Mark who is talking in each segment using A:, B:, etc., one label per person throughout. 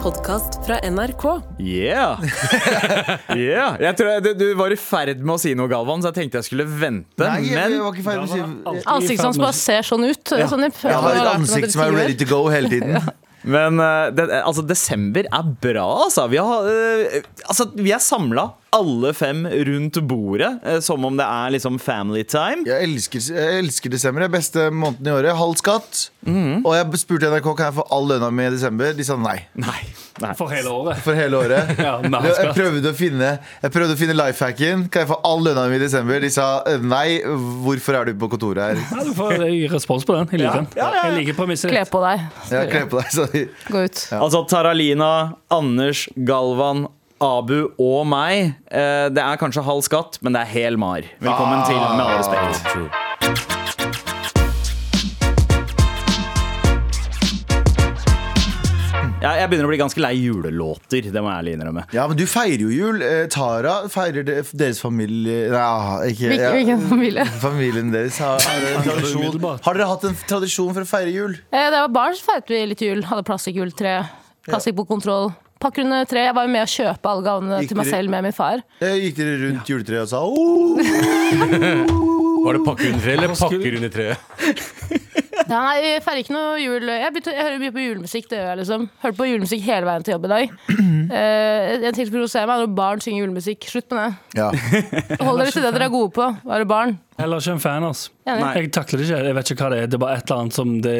A: podkast fra NRK.
B: Yeah! yeah. Jeg tror jeg, du var i ferd med å si noe, Galvan, så jeg tenkte jeg skulle vente.
C: Nei, jeg, jeg
B: men
C: var ikke ferdig med å si
A: Ansiktet hans bare ser sånn ut. Sånn i-
C: Jeg har et ansikt som er ready to go hele tiden.
B: men eh, det, altså, desember er bra, altså. Vi, har, eh, altså, vi er samla, alle fem, rundt bordet, eh, som om det er liksom family time.
C: Jeg elsker, jeg elsker desember. Det er beste måneden i året. Halv skatt. Og jeg spurte NRK kan jeg få all lønna mi i desember. De sa nei.
B: Nei. nei.
D: For hele året.
C: For hele året.
D: Ja, med halv
C: jeg
D: skatt.
C: prøvde å finne Jeg prøvde å finne lifehacken. Kan jeg få all lønna mi i desember? De sa eh, nei. Hvorfor er du på kontoret her?
D: Ja, du får jeg gir respons på den. Jeg liker den. Jeg liker premisset.
A: Kle
D: ditt.
A: på deg.
C: Jeg kler på deg, sa de.
A: Gå ut.
B: Altså Taralina, Anders, Galvan, Abu og meg. Eh, det er kanskje halv skatt, men det er hel mar. Velkommen til, med all respekt. Jeg, jeg begynner å bli ganske lei julelåter, det må jeg ærlig innrømme.
C: Ja, men du feirer jo jul. Eh, Tara feirer de- deres familie Nei, ah, ikke
A: Hvilken,
C: ja.
A: hvilken familie?
C: Familien deres har, har, en tradisjon.
D: Umiddelbart.
C: har dere hatt en tradisjon for å feire jul?
A: Eh, Da jeg var barn, så feiret vi litt jul. Hadde plastikkjuletre, plastikkbokkontroll. Pakker under tre. Jeg var jo med å kjøpe alle gavene
C: Gikk
A: til meg
C: dere-
A: selv med min far.
C: Eh, Gikk dere rundt juletreet og sa oh!
E: Var det pakke under treet, eller pakker under treet?
A: Ja, nei, jeg feirer ikke noe jul. Jeg, begynte, jeg hører mye på julemusikk. det gjør jeg liksom Hørte på julemusikk hele veien til jobb i dag. Eh, en ting som provoserer meg, er når barn synger julemusikk. Slutt med det.
C: Ja.
A: Hold dere til det dere er gode på. Være barn.
D: Heller ikke en fan, altså.
A: Enig.
D: Jeg takler det ikke. Jeg vet ikke hva det er. Det er bare et eller annet som det,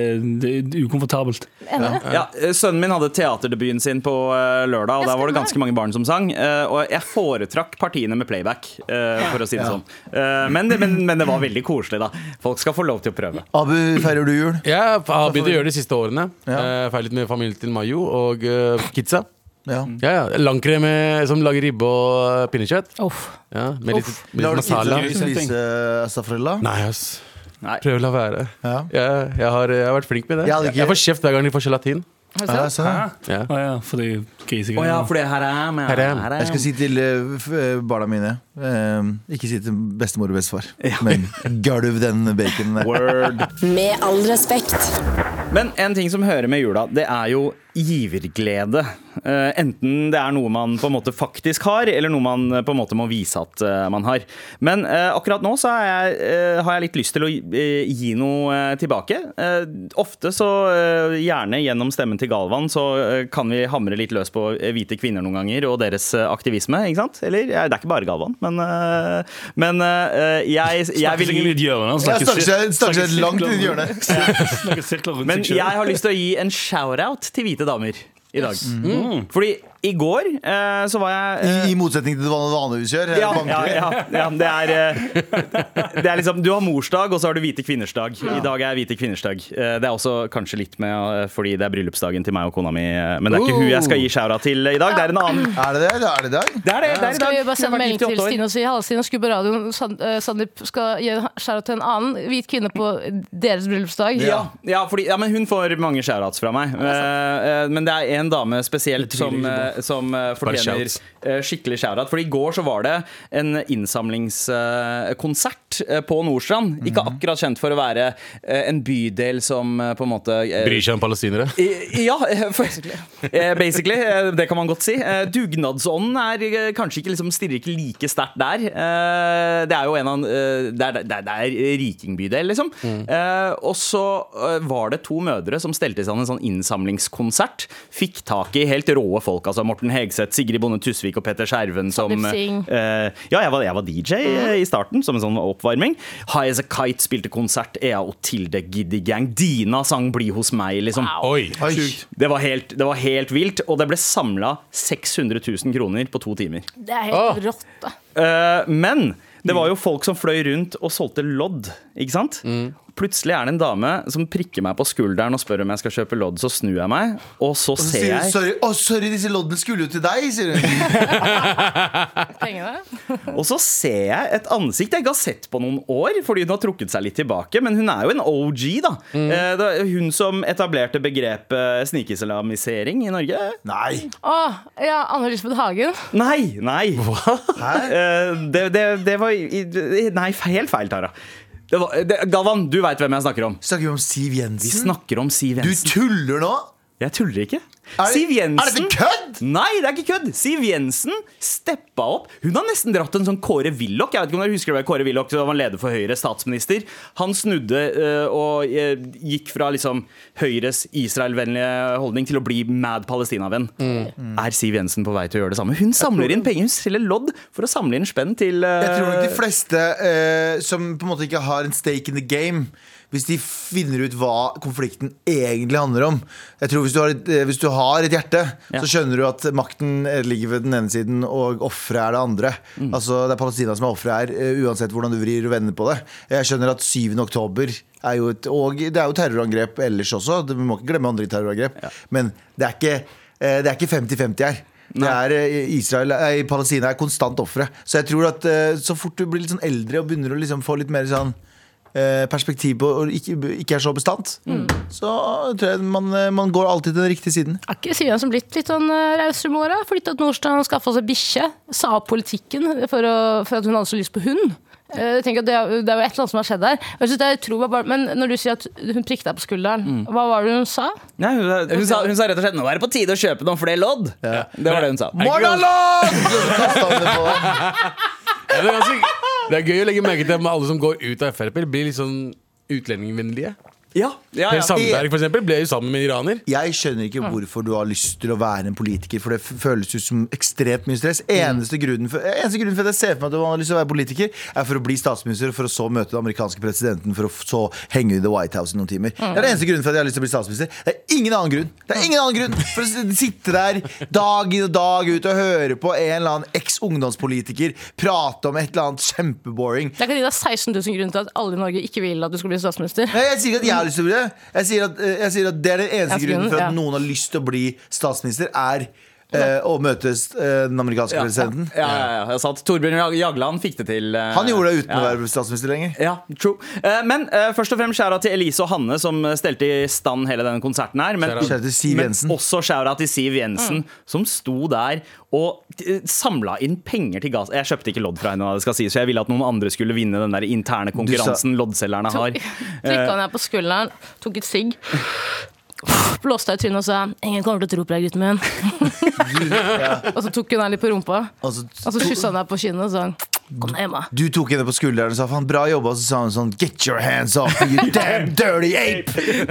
D: det er ukomfortabelt.
A: Enig.
B: Ja, eh, sønnen min hadde teaterdebuten sin på eh, lørdag, og der
A: Jeg
B: var det
A: stemmer.
B: ganske mange barn som sang. eh, Og jeg foretrakk partiene med playback, eh, for å si det sånn. Eh, Men, men, men det var veldig koselig, da. Folk skal få lov til å prøve.
C: Abu, feirer du jul?
E: Jeg har begynt å gjøre det de siste årene.
C: Ja.
E: Eh, Feil litt med familien til Mayo og eh, kidsa.
C: Ja.
E: Ja, ja. Langkrem eh, som lager ribbe og eh, pinnekjøtt.
A: Uff.
E: Ja, med litt,
A: Uff.
E: med
C: Lar
E: litt
C: du
E: masala.
C: kidsa spise eh, astafrella?
E: Nei, ass.
B: Nei.
E: Prøv å la være.
C: Ja.
E: Jeg, jeg, har, jeg har vært flink med det.
C: Jeg hadde
E: Jeg,
C: ikke-
E: får kjeft hver gang de får gelatin.
C: Ja, jeg sa det.
E: Ja.
D: Å ja, fordi
B: Å ja,
D: grisegreier.
B: for det her er med,
E: Her er-
C: Jeg skal si til eh, f- eh, barna mine eh, Ikke si til bestemor og bestefar, men gulv den baconen der.
B: Word.
F: Med all respekt.
B: Men en ting som hører med jula, det er jo giverglede. Eh, enten det er noe man på en måte faktisk har, eller noe man eh, på en måte må vise at eh, man har. Men eh, akkurat nå så er jeg, eh, har jeg litt lyst til å eh, gi noe eh, tilbake. Eh, ofte så, eh, gjerne gjennom stemmen til Galvan, så eh, kan vi hamre litt løs på eh, hvite kvinner noen ganger, og deres eh, aktivisme, ikke sant? Eller, ja, det er ikke bare Galvan, men, eh, men eh, jeg, jeg vil
D: Snakker seg inn i et hjørne. han
C: Jeg stakk seg-
D: sir-
C: stakk seg
D: snakker
C: langt
D: sirkler
C: inn i
D: rundt- Snakker sirkler rundt
B: Men
D: seg
B: jeg
D: selv.
B: har lyst til å gi en shout-out til hvite damer i dag. Mm. Fordi i går eh, så var jeg eh,
C: I, I motsetning til det van- vanligvis gjør. eh,
B: ja,
C: Ja,
B: ja, ja, ja, det er eh, Det er liksom Du har morsdag, og så har du hvite kvinners dag. I dag er hvite kvinners dag. Eh, Det er også kanskje litt med eh, fordi det er bryllupsdagen til meg og kona mi. eh, Men det er ikke hun jeg skal gi shout-out til i dag. Det er en annen.
C: Er det det? eller Er det der?
B: Det er det, det er i
A: Skal
B: dag.
A: vi bare
B: Hun
A: sende
B: har vært
A: melding
B: gift i
A: til
B: åtte år.
A: Stine og si Halla, Stine, skru på radioen. San- eh, Sandeep skal gi skjæra til en annen hvit kvinne på deres bryllupsdag.
B: Ja, ja, fordi, ja, men hun får mange shoutouts fra meg. Eh, eh, men det er en dame spesielt som, eh, som eh, fortjener
E: shouts.
B: eh, skikkelig shoutout. For i går så var det en innsamlingskonsert eh, på Nordstrand. Ikke
E: Mhm.
B: akkurat kjent for å være eh, en bydel som eh, på en måte eh,
E: Bryr seg om palestinere.
B: i- Ja, eh, for, eh, basically. eh, Det kan man godt si. Eh, Dugnadsånden er eh, kanskje ikke liksom, stirrer ikke like sterkt der. Eh, Det er jo en av eh, Det er, det er, det er rikingbydel, liksom. Eh, Og så eh, var det to mødre som stelte sammen en sånn innsamlingskonsert. Fikk tak i helt råe folk, altså Morten Hegseth, Sigrid Bonde Tusvik og Petter Skjerven som
A: Sandeep Singh. Mm.
B: Eh, ja, jeg var, jeg var DJ i starten, som en sånn oppvarming. High as a Kite spilte konsert, Ea og Tilde Giddy Gang. Dina sang 'Bli hos meg', liksom.
E: Oi!
C: Oi.
B: Det var, helt, det var helt vilt, og det ble samla 600 000 kroner på to timer.
A: Det er helt rått, da.
B: Eh, men det var jo folk som fløy rundt og solgte lodd, ikke sant? Plutselig er det en dame som prikker meg på skulderen og spør om jeg skal kjøpe lodd. Så snur jeg meg, og så
C: Og så
B: ser
C: sier hun
B: jeg
C: sorry, å, sorry, disse loddene skulle jo til deg, sier hun.
A: Pengene.
B: Og så ser jeg et ansikt jeg ikke har sett på noen år, fordi hun har trukket seg litt tilbake. Men hun er jo en OG, da.
C: Mm.
B: Eh, det er hun som etablerte begrepet snikislamisering i Norge.
C: Nei.
A: Å, ja, Anne Elisabeth Hagen.
B: Nei, nei.
C: Hæ?
B: Eh, det, det, det var i- i- Nei, helt feil, Tara. Det var, det, Galvan, du veit hvem jeg snakker om.
C: Snakker vi om Siv Jensen?
B: Vi snakker om Siv
C: Du
B: Jensen.
C: tuller nå?
B: Jeg tuller ikke.
C: Er-
B: Siv Jensen
C: er dette kødd?
B: Nei, det er ikke kødd! Siv Jensen steppa opp. Hun har nesten dratt en sånn Kåre Willoch. Jeg vet ikke om dere husker det var Kåre Willoch, som var leder for Høyre, statsminister. Han snudde eh, og eh, gikk fra liksom Høyres Israel-vennlige holdning til å bli mad Palestina-venn. Er Siv Jensen på vei til å gjøre det samme? Hun samler inn penger, hun selger lodd for å samle inn spenn til eh,
C: Jeg tror nok de fleste eh, som på en måte ikke har en stake in the game hvis de finner ut hva konflikten egentlig handler om Jeg tror Hvis du har et, eh, hvis du har et hjerte,
B: Ja.
C: så skjønner du at makten eh, ligger ved den ene siden, og offeret er det andre.
B: Mm.
C: Altså Det er Palestina som er offeret her, eh, uansett hvordan du vrir og vender på det. Jeg skjønner at 7. oktober er jo et Og det er jo terrorangrep ellers også, det- vi må ikke glemme andre terrorangrep. Men det er ikke eh, det er ikke 50-50 her. Det er, eh, Israel, eh, Palestina er konstant ofre. Så jeg tror at eh, så fort du blir litt sånn eldre og begynner å liksom få litt mer sånn eh, perspektiv på og ikke, ikke er så bestandt, så tror jeg man, eh, man går alltid til den riktige siden.
A: Er ikke Siv Jensen blitt litt sånn eh, rausere med åra? Flytta til Nordstrand og skaffa seg bikkje. Sa opp politikken for, å, for at hun hadde så lyst på hund. Eh, Jeg tenker at det, er- det er jo et eller annet som har skjedd der. Og Jeg synes det er utrolig, bare- men når du sier at hun prikket deg på skulderen, hva var det hun sa?
B: Nei, hun, sa- hun, sa, hun sa rett og slett 'nå er det på tide å kjøpe noen flere lodd'. Det var det hun sa.
C: Morgenlåt! Kastet han det på.
E: Ja, det, er ganske, det er gøy å legge merke til at alle som går ut av Frp, blir litt sånn utlendingvennlige.
B: Ja, ja,
E: Per
B: ja.
E: Sandberg for eksempel, ble jo sammen med en iraner.
C: Jeg skjønner ikke hvorfor du har lyst til å være en politiker, for det f- føles ut som ekstremt mye stress. Eneste grunnen for, eneste grunnen for at jeg ser for meg at du har lyst til å være politiker, er for å bli statsminister, for å så møte den amerikanske presidenten, for å f- så henge i The White House i noen timer. Det er den eneste grunnen for at jeg har lyst til å bli statsminister. Det er ingen annen grunn. Det er ingen annen grunn For å s- sitte der dag inn og dag ut og høre på en eller annen eks-ungdomspolitiker prate om et eller annet kjempeboring.
A: Jeg kan gi deg 16 000 grunner til at alle i Norge ikke vil at du skal bli statsminister.
C: Nei, jeg sier ikke at jeg har lyst til å bli det. Jeg sier at, eh, jeg sier at det er den eneste
A: Jeg skulle-
C: grunnen for at
A: ja.
C: noen har lyst til å bli statsminister, er eh, å møtes eh, den amerikanske presidenten.
B: Ja, ja, ja, jeg sa at Torbjørn Jag- Jagland fikk det til. eh,
C: Han gjorde det uten
B: ja.
C: å være statsminister lenger.
B: Ja, true. Eh, Men eh, først og fremst skjæra til Elise og Hanne, som eh, stelte i stand hele denne konserten her. Men,
C: Shout-out til Siv
B: men
C: Jensen.
B: også skjæra til Siv Jensen, som sto der og eh, samla inn penger til Gaza. Jeg kjøpte ikke lodd fra henne, da, det skal sies, så jeg ville at noen andre skulle vinne den der interne konkurransen loddselgerne har.
A: Trykka ned på skulderen, tok et sigg. Blåste deg i trynet og sa 'Ingen kommer til å tro på deg, gutten min'. og så tok hun deg litt på rumpa,
C: Altså,
A: og så kyssa hun deg på kinnet og sa 'Kom deg hjem', da'.
C: du tok henne på skulderen og sa faen, bra jobba, og så sa hun sånn Get your hands off, you damn dirty ape!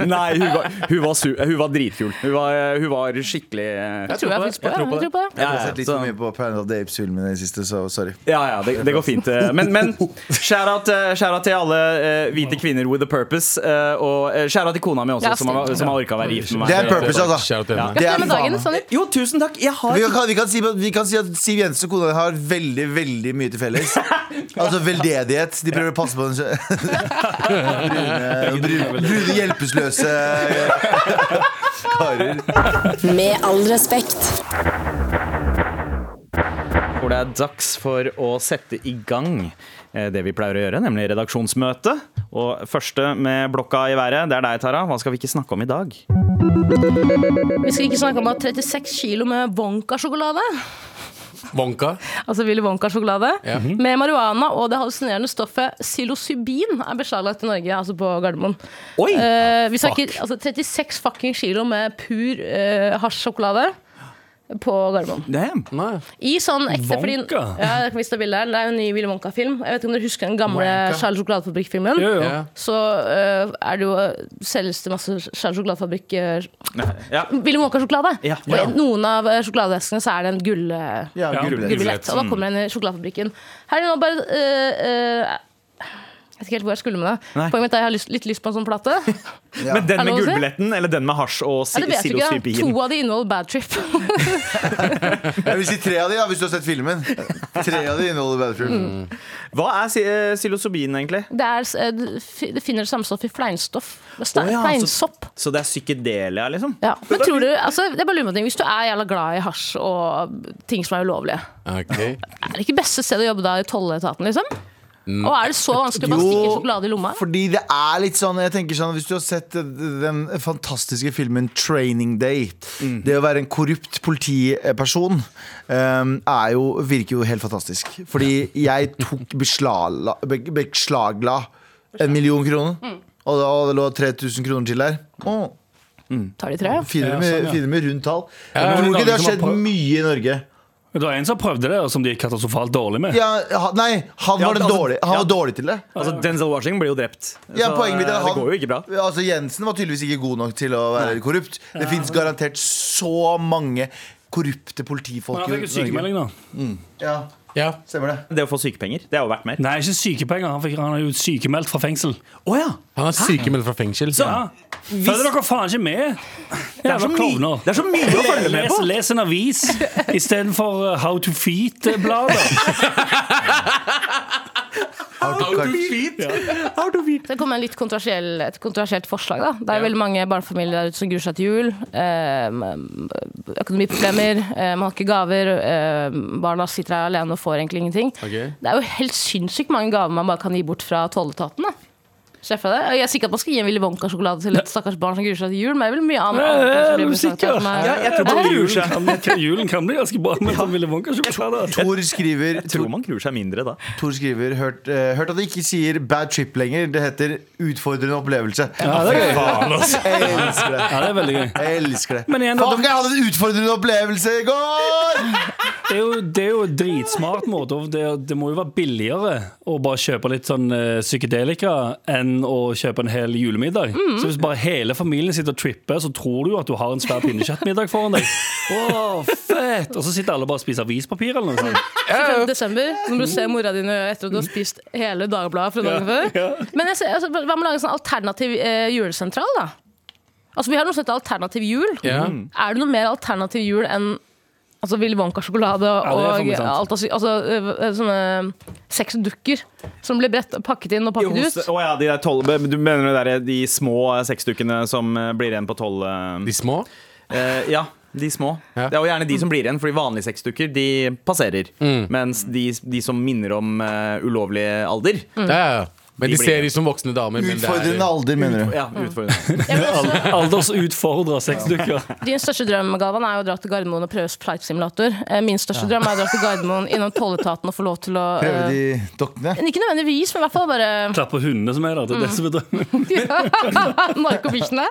B: Nei, hun var, hun var, su hun var dritkul. Hun var, hun var skikkelig eh,
A: Tror jeg faktisk på det. Jeg tror på det.
C: Jeg har sett litt for
B: så-
A: sånn.
C: mye på Planet of the Apes-filmene i det siste, så sorry.
B: Ja, ja, det, det går fint. eh, Men, men shout-out eh, shout-out til alle eh, hvite kvinner with a purpose. eh, og eh, shout-out til kona mi også,
A: Ja,
B: som har, som har orka å være gift med meg. Eh,
C: Det er purpose, altså.
E: Shout-out til henne.
C: Det
A: Gratulerer
C: er
A: med dagen,
C: faen.
A: Sanner.
B: Jo, tusen takk. Jeg har
C: Vi kan, vi, kan si, vi kan si at Siv Jensen og kona har veldig veldig mye til felles. Altså veldedighet. De prøver å passe på den sjø- brune, brune, brune hjelpeløse eh, karer.
F: Med all respekt.
B: hvor det er dags for å sette i gang eh, det vi pleier å gjøre, nemlig redaksjonsmøte. Og første med blokka i været, det er deg, Tara. Hva skal vi ikke snakke om i dag?
A: Vi skal ikke snakke om at 36 kilo med Wonka-sjokolade,
E: Wonka.
A: altså Willy Wonka-sjokolade,
E: Ja.
A: med marihuana og det hallusinerende stoffet psilocybin er beslaglagt i Norge, altså på Gardermoen.
B: Oi!
A: Eh, vi snakker altså, 36 fucking kilo med pur uh, hasjsjokolade på Gardermoen.
B: Damn.
E: Nei.
A: I sånn ekte fordi,
D: Wonka?
A: ja, jeg kan vise deg bildet her. Det er jo en ny Willy Wonka-film. Jeg vet ikke om dere husker den gamle Charles Sjokoladefabrikk-filmen?
D: Jo, jo.
E: Ja.
A: Så eh, er det jo selges det masse Charles Sjokoladefabrikk eh,
B: Ja.
A: Willy Wonka-sjokolade.
B: Ja.
A: Og i noen av eh, sjokoladeskene så er det en gull... eh,
C: Ja,
D: Ja,
C: gullbillett.
A: gullbillett. Og da kommer den i sjokoladefabrikken. Her er det nå bare eh, eh, Jeg vet ikke helt hvor jeg skulle med det.
B: Nei.
A: Poenget mitt er at jeg har lyst, litt lyst på en sånn plate.
B: Men den med
A: Er det lov å si?
B: gullbilletten, eller den med hasj og
A: Ja,
B: si-
A: det vet jeg ikke.
B: psilocybin?
A: To av de inneholder Bad Trip.
C: Jeg vil si tre av de, ja, hvis du har sett filmen. Tre av de inneholder Battlefield.
B: Hva er si- eh, psilocybin, egentlig?
A: Det, er, s- eh, du fi- du finner samme stoff i fleinstoff. Det er sta-
B: Å ja, altså-
A: Fleinsopp.
B: Så det er psykedelia, liksom?
A: Ja. Men tror du, altså, det er bare lurer på en ting. Hvis du er jævla glad i hasj og ting som er ulovlige,
E: Ok.
A: er det ikke beste stedet å jobbe da i tolletaten, liksom? Og er det så vanskelig å bare stikke sjokolade i lomma?
C: fordi det er litt sånn Jeg tenker sånn, Hvis du har sett eh, den fantastiske filmen 'Training Day' Det å være en korrupt politiperson em, er jo, virker jo helt fantastisk. Fordi jeg tok beslagla, be,
A: Mm.
C: beslagla en million kroner, og, da, og det lå 3000 kroner til der. Å.
A: Tar de tre?
C: Finere
D: Ja,
C: med,
D: sånn, ja.
C: finere med rundt tall.
E: Ja,
C: Jeg
E: men
C: tror ikke det har
E: Norge som
C: skjedd
E: har på-
C: mye i Norge.
D: Det var en som prøvde det, og som de er katastrofalt dårlig med.
C: Ja, ha- nei, han
B: Ja,
C: var, den
B: altså-
C: dårlig. Han
B: ja.
C: var dårlig til det.
B: Altså, Denzel Washington blir jo drept.
C: Ja,
B: Så,
C: poenget mitt er
B: eh,
C: at
B: det
C: han,
B: går jo ikke bra.
C: Altså, Jensen var tydeligvis ikke god nok til å være korrupt. Det finnes garantert så mange korrupte
D: Men
C: politifolk
D: han fikk jo sykemelding, da.
C: Ja,
E: Ja.
C: stemmer det.
B: Det å få sykepenger, det har jo vært mer.
D: Nei, ikke sykepenger. Han, fikk, han er jo sykemeldt fra fengsel.
B: Å ja.
E: Han er sykemeldt fra fengsel.
D: Så, ja. Følger dere faen ikke med? Jævla klovner.
B: det er så mye å følge med
D: Les,
B: på!
D: les en avis istedenfor uh, How to Feet-bladet.
A: Det kommer en litt kontroversiell, et kontroversielt forslag. Da. Det er veldig mange barnefamilier der ute som gruer seg til jul. Eh, økonomiproblemer, eh, man har ikke gaver. Eh, barna sitter her alene og får egentlig ingenting.
E: Ok.
A: Det er jo helt sinnssykt mange gaver man bare kan gi bort fra tolletaten. da. Ser for deg det. Og Jeg er sikker på at man skal gi en Willy Wonka-sjokolade til et stakkars barn som gruer seg til jul, men det er vel mye annet.
D: Ja,
A: annet
D: er
A: som
D: du
A: blir sagt her
D: sikker?
A: som er-
B: Ja, jeg tror man gruer seg.
D: Julen kan bli ganske bra med sånn Ville Wonka-sjokolade.
C: Tor skriver,
B: Jeg tror man gruer seg mindre da.
C: Tor skriver hørt, eh, hørt at det ikke sier bad trip lenger. Det heter utfordrende opplevelse.
D: Ja, det er gøy.
C: Jeg elsker det.
D: Ja, det er veldig gøy.
C: Jeg elsker det.
D: Men igjen,
C: Fuck,
D: da-
C: jeg hadde en utfordrende opplevelse i går!
D: Det er jo, det er jo en dritsmart måte. å- Det, det må jo være billigere å bare kjøpe litt sånn eh, psykedelika enn å kjøpe en hel julemiddag. Så hvis bare hele familien sitter og tripper, så tror du jo at du har en svær pinnekjøttmiddag foran deg. Åh, fett! Og så sitter alle bare og spiser avispapir eller noe sånt.
A: 25. desember, når du ser mora dine etter at du har spist hele Dagbladet fra dagen før. Men jeg ser, altså, hva med å lage en sånn alternativ eh, julesentral, da? Altså, Vi har noe som heter alternativ jul.
E: Ja.
A: Er det noe mer alternativ jul enn altså, Willy Wonka-sjokolade
D: Ja, det er for
A: og
D: mye sant.
A: alt av sy- altså, eh, sånne seks dukker som blir bredt, pakket inn og
B: Jo,
A: pakket
B: hos-
A: ut?
B: Å ja, de der tolv Du mener det der, de små eh, seksdukkene som eh, blir igjen på tolv eh,
E: De små?
B: eh, Ja, de små.
E: Ja.
B: Det er jo gjerne de som blir igjen, fordi vanlige seksdukker de passerer. Mens de, de som minner om eh, ulovlig alder
A: Mm.
E: Ja, ja. Men
B: De
E: de
B: blir
E: ser
B: det.
E: ut som voksne damer. Men det er,
C: Utfordrende alder, mener du.
B: Ja,
A: Mm.
B: utfordrende.
A: Jeg vil også-
D: Aldersutfordra sexdukker.
A: Din største drøm Galvan, er jo å dra til Gardermoen og prøve flight simulator. Eh, Min største drøm er å dra til Gardermoen innom tolletaten og få lov til å eh,
C: Prøvde de dokkene?
A: Ikke nødvendigvis, men i hvert fall bare
D: Klapper hundene som er der. Det er det som er drømmen.
A: Narkobikkjene.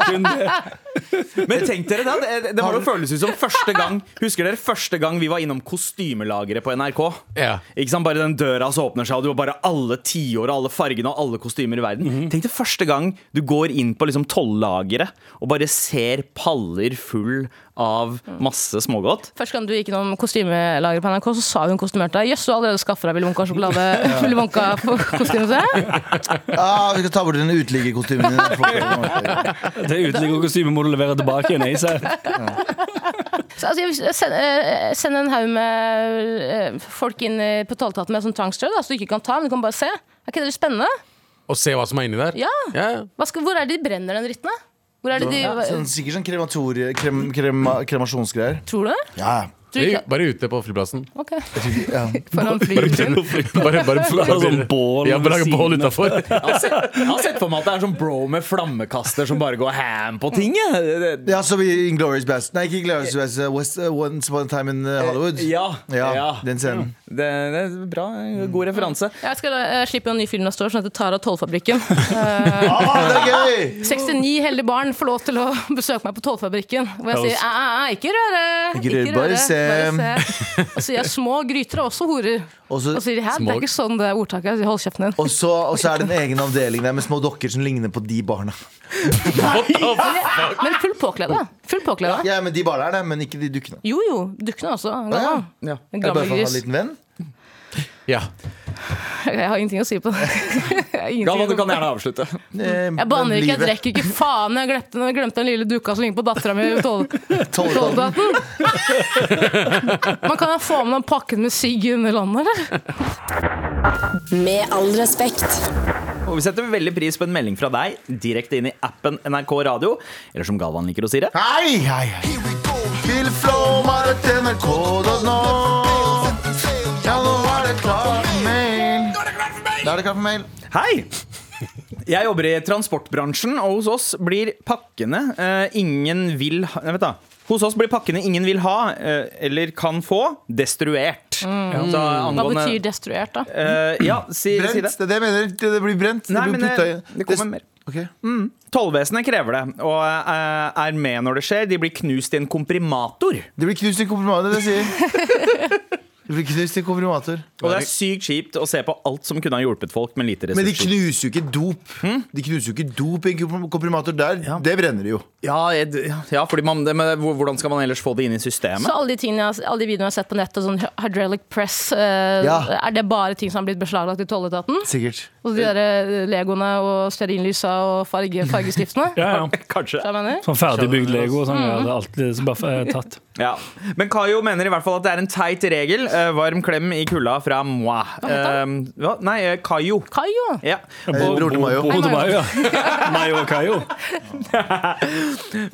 D: Kun det.
B: Men tenk dere det, det, det var jo føles ut som første gang Husker dere første gang vi var innom kostymelageret på NRK?
E: Ja.
B: Ikke sant? Bare den døra som åpner seg, og du har bare alle tiår og alle fargene og alle kostymer i verden. Tenk deg første gang du går inn på liksom tollageret og bare ser paller full av masse smågodt.
A: Først gang du gikk innom kostymelageret på NRK, så sa hun kostymert deg Jøss, du har allerede skaffa deg Willy Wonka-sjokolade. Willy Wonka på kostymet sitt.
C: Ah, vi skal ta bort den uteliggerkostymen din.
D: Det uteliggerkostymet må du levere tilbake igjen. ASAP.
A: Så, altså, jeg vil sende, eh, sende en haug med eh, folk inn i- på tolletaten med sånn tvangsstrø, da, så du ikke kan ta, men du kan bare se. Er ikke det litt spennende?
E: Og se hva som er inni der?
A: Ja.
E: Ja.
A: Hva skal, hvor er det de brenner den dritten, da? Hvor er det de
C: Sånn, sikkert sånn krematorie, krem, krema, kremasjonsgreier.
A: Tror du det?
C: Ja.
A: Tror
E: Det
A: du
E: er
A: ikke?
E: jo Bare ute på flyplassen.
A: Ok.
C: ja.
A: Foran
E: Bare,
A: flyet.
E: bare, bare,
D: Bare sånn bål
E: Ja, bare
D: ved siden
E: bål
D: av.
E: utafor.
B: Jeg har sett, jeg har sett for meg at det er sånn bro med flammekaster som bare går ham på ting. jeg. Det- det-
C: Ja, som i Inglourious Bast. Nei, ikke Inglourious Bast. West, uh, Once Upon a Time in uh, Hollywood.
B: Ja, ja.
C: Den scenen.
B: Det, det er bra, god referanse.
A: Jeg skal eh, slippe en ny film neste år som heter Tara Tollfabrikken. Mm.
C: Ah, det er gøy!
A: 69 heldige barn får lov til å besøke meg på Tollfabrikken. Hvor jeg sier æ, æ, æ, ikke røre!
C: Ikke røre, bare se.
A: se. Og sier jeg små gryter er også horer.
C: Og så-
A: Og sier de, hæ, det
E: Små-
A: er ikke sånn det er ordtaket. Jeg sier, Hold kjeften din.
C: Og så, og så er det en egen avdeling der med små dokker som ligner på de barna.
A: Men fullt påkledd. da. Fullt påkledd. da.
C: Ja, men De barna er det, men ikke de dukkene.
A: Jo jo, dukkene også.
C: Ja, ja.
A: Gamla.
B: Ja.
C: Er det
A: En
C: bare
A: gammel
C: for å ha en
A: gris.
C: liten venn?
E: Ja.
A: Jeg har ingenting å si på det. Jeg har ingenting
B: Galvan,
A: å si
B: du
A: på
B: kan gjerne avslutte.
C: Eh,
A: Mm. Jeg banner
C: men
A: ikke, jeg
C: livet-
A: drikker ikke. Faen, jeg glemte, jeg glemte den lille dukka som ligger på dattera mi.
C: Tolvtallet.
A: Man kan jo få med den pakken med sigg under landet, eller?
F: Med all respekt.
B: Og vi setter veldig pris på en melding fra deg direkte inn i appen NRK Radio. Eller som Galvan liker å si det.
C: Hei, hei, hei. Til flowmar.nrk.no. Ja, nå er det klart for mail. Da er det klart for mail.
B: Hei! Jeg jobber i transportbransjen, og hos oss blir pakkene eh, ingen vil ha Nei, vent da. Hos oss blir pakkene ingen vil ha, eh, eller kan få, destruert. Så
A: Mm. Hva
B: angående-
A: betyr destruert, da?
B: Eh, ja, si, si
C: Brent,
B: det.
C: det er det jeg mener. Det det blir brent.
B: Nei,
C: det
B: men eh,
C: blir
B: det,
C: putta i
B: det kommer mer.
C: Ok.
B: Tollvesenet krever det, og eh, er med når det skjer. De blir knust i en komprimator.
C: Det blir knust i komprimator, det sier Det blir knust i komprimator.
B: Og det er sykt kjipt å se på alt som kunne ha hjulpet folk med lite
C: Men de
B: ressurser.
C: knuser jo ikke dop.
B: Hm?
C: De knuser jo ikke dop i en komprim- komprimator der. Det brenner de jo.
B: Ja, jeg- ja fordi man, det, men hvordan skal man ellers få det inn i systemet?
A: Så alle de, tingene, jeg har- alle de videoene jeg har sett på nettet, sånn hydraulic press, eh,
C: Ja.
A: er det bare ting som har blitt beslaglagt i tolletaten?
C: Sikkert.
A: Og de der eh, legoene og stearinlysa og farge, fargestiftene?
D: Ja, ja.
B: Kanskje.
A: Hva mener du?
D: Sånn ferdigbygd Lego og sånn. Ja, det er alt det som bare er tatt.
B: Ja. Men Kayo mener i hvert fall at det er en teit regel. Eh, varm klem i kulda fra moi. Eh, hva? nei, eh, Kayo.
A: Kayo!
B: Ja.
C: bror Eh, til Mayo.
D: Bror til Mayo, ja. Mayo og Kayo.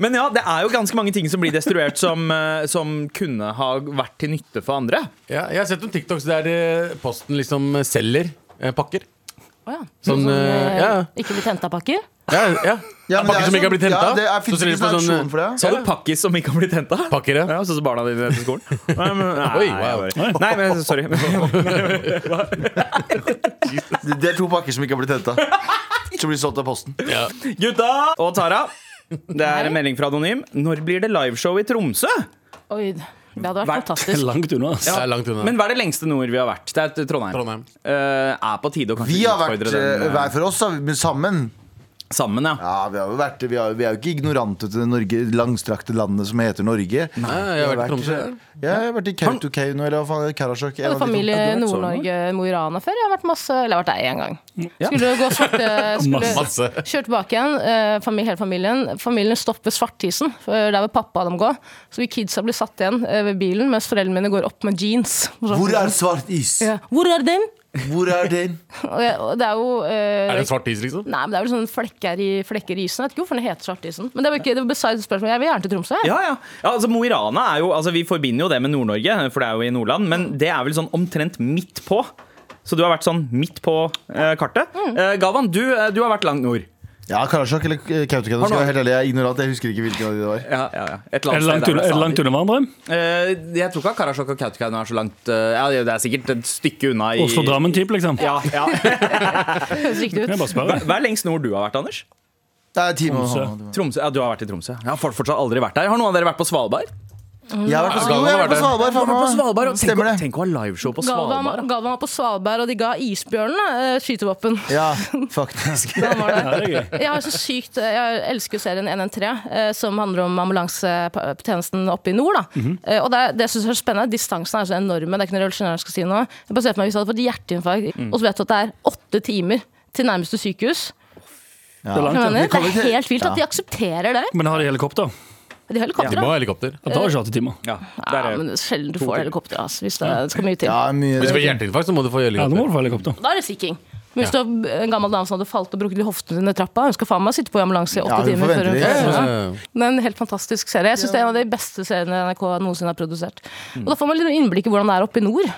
B: Men ja, det er jo ganske mange ting som blir destruert som, eh, som kunne ha vært til nytte for andre.
E: Ja, jeg har sett noen TikToks der eh, Posten liksom selger eh, pakker.
A: Å ja.
E: Sånn,
A: Sånn,
E: eh, ja.
A: eh, Ikke blitt henta pakker?
E: Ja, ja.
C: Ja, men det er
E: pakker som
C: sånn-
E: ikke har blitt
C: ja,
E: henta.
C: det er- finnes ikke sånn aksjon for det?
B: Sa du pakkis som ikke har blitt henta?
E: Pakker, ja.
B: Ja, sånn som barna dine til skolen? Nei, men, nei,
E: Oi, wow.
B: jeg bare- nei, men sorry.
C: Det det er eh, to pakker som ikke har blitt henta. Som blir solgt av Posten.
B: Gutta og Tara. Det er en melding fra Anonym. Når blir det liveshow i Tromsø?
A: Oi, det
B: Vært
D: Det
A: hadde vært
D: er
A: fantastisk.
D: langt unna. ass.
E: Det er langt unna.
B: Men hva er det lengste nord vi har vært? Det er Trondheim.
E: Trondheim.
B: Eh, er på tide å kanskje
C: Vi har vært
B: utfordre
C: eh,
B: den eh,
C: hver for oss, da, men sammen.
B: sammen, ja.
C: Ja, vi, har jo vært, vi, har, vi er jo ikke ignorante til det Norge, langstrakte landet som heter Norge.
E: Nei, jeg har vært i Tromsø.
C: Ja, jeg har vært i Kautokeino eller hva faen, Karasjok. en
A: Jeg
C: av de
A: hadde
C: to.
B: Ja,
A: familie i
B: du har vært så
A: Nord-Norge, Mo i Rana før. Jeg har vært masse, eller jeg har vært der én gang. Skulle gå svarte skulle,
E: Masse.
A: Kjørt tilbake igjen, eh, famil- hele familien. Familien stopper Svartisen, for der vil pappa dem gå. Så vi kidsa blir satt igjen eh, ved bilen, mens foreldrene mine går opp med jeans. Og så-
C: Hvor er svart is?
A: ja. Hvor er den?
C: Hvor er den?
A: Og jeg- og det er jo eh,
E: Er det en svart is, liksom?
A: Nei, men det er vel sånne flekker i, flekker i isen. Jeg vet ikke hvorfor den heter Svartisen. Men det var ikke det var besides spørsmålet. Jeg vil gjerne til Tromsø. jeg.
B: Ja, ja. ja altså Mo i Rana er jo altså, Vi forbinder jo det med Nord-Norge, for det er jo i Nordland, men det er vel sånn omtrent midt på. Så du har vært sånn midt på eh, kartet. Eh, Gavan, du, eh, du har vært langt nord.
C: Ja, Karasjok eller eh, Kautokeino. Skal jeg være helt ærlig, jeg er ignorant. Jeg husker ikke hvilken av de det var.
B: Ja, ja, ja. Et
D: Er det langt
B: sted der
D: unna, er det langt
B: det
D: unna hverandre?
B: sa- Eh, Jeg tror ikke at Karasjok og Kautokeino er så langt eh, Ja, Det er sikkert et stykke unna. i-
D: Oslo-Drammen-type, liksom?
B: Ja, ja.
A: Det høres riktig
D: Kan
A: ut.
D: jeg bare spørre?
B: Hva er lengst nord du har vært, Anders?
C: Det er time og
D: Tromsø.
B: Tromsø? Ja, du har vært i Tromsø. Jeg har fort- fortsatt aldri vært der. Har noen av dere vært på Svalbard?
C: Jeg har vært på,
E: Skal
C: jo, jeg har vært på
E: det?
C: Svalbard. faen meg.
B: Tenk,
C: Stemmer
B: å-
C: det.
B: tenk å ha liveshow på Svalbard.
A: Galvan, Galvan var på Svalbard, og de ga isbjørnene eh, skytevåpen.
C: Ja, faktisk.
A: Han var der.
D: Ja, det er gøy.
A: Jeg har så sykt Jeg elsker jo serien 113, eh, som handler om ambulansetjenesten oppe i nord. Da. Eh, Og det, det synes jeg er spennende. Distansene er så enorme. Det er ikke noe revolusjonært jeg skal si nå. Jeg bare ser for meg hvis jeg hadde fått hjerteinfarkt, og så vet du at det er åtte timer til nærmeste sykehus.
D: Det er langt,
A: Skjønner
D: ja.
A: du? Det er helt vilt at de aksepterer det.
D: Men har de helikopter?
A: De har
E: De
A: helikoptre.
E: må
A: Ja,
E: ha helikopter.
D: Det tar ikke åtte timer.
B: Ja, der er
A: men det er sjelden du får helikopter, altså, hvis det, det skal mye til.
C: Ja, mye
E: Hvis du får hjerteinfarkt, så må du få
D: Ja, nå må
E: helikopter.
D: du få helikopter.
A: Da er det sikking. Men hvis du har en gammel dame som hadde falt og brukket hoften sin i trappa, hun skal faen meg sitte på i ambulanse i
C: Ja,
A: åtte
C: hun
A: timer.
C: får
A: før hun-
C: vente litt.
E: Ja,
A: Ja.
E: ja, ja.
A: Det er en helt fantastisk serie. Jeg synes Det er en av de beste seriene NRK noensinne har produsert. Og Da får man litt sånn innblikk i hvordan det er oppe i nord.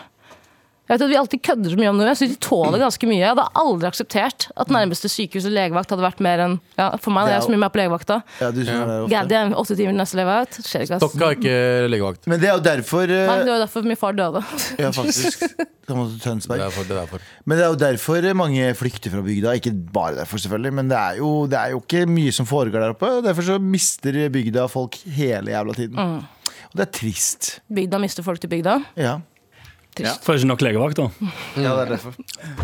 A: Jeg vet at Vi alltid kødder så mye om det, men jeg synes de tåler ganske mye. Jeg hadde aldri akseptert at nærmeste sykehus og legevakt hadde vært mer enn ja, For meg, det er jeg så mye mer på legevakta.
C: Ja, du som er der ofte.
A: Gad damn, åtte timer til neste leveout. Skjer ikke, ass.
E: Dokka har ikke legevakt.
C: Men det er jo derfor eh,
A: Nei, det var jo derfor min far døde.
C: Ja, faktisk. Da måtte du til
E: Det
C: Tønsberg.
E: er for, det er for.
C: Men det er jo derfor mange flykter fra bygda. Ikke bare derfor, selvfølgelig, men det er jo, det er jo ikke mye som foregår der oppe. og Derfor så mister bygda folk hele jævla tiden. Og det er trist.
A: Bygda mister folk til bygda.
C: Ja,
D: Får ikke nok legevakter.
C: ja det er derfor.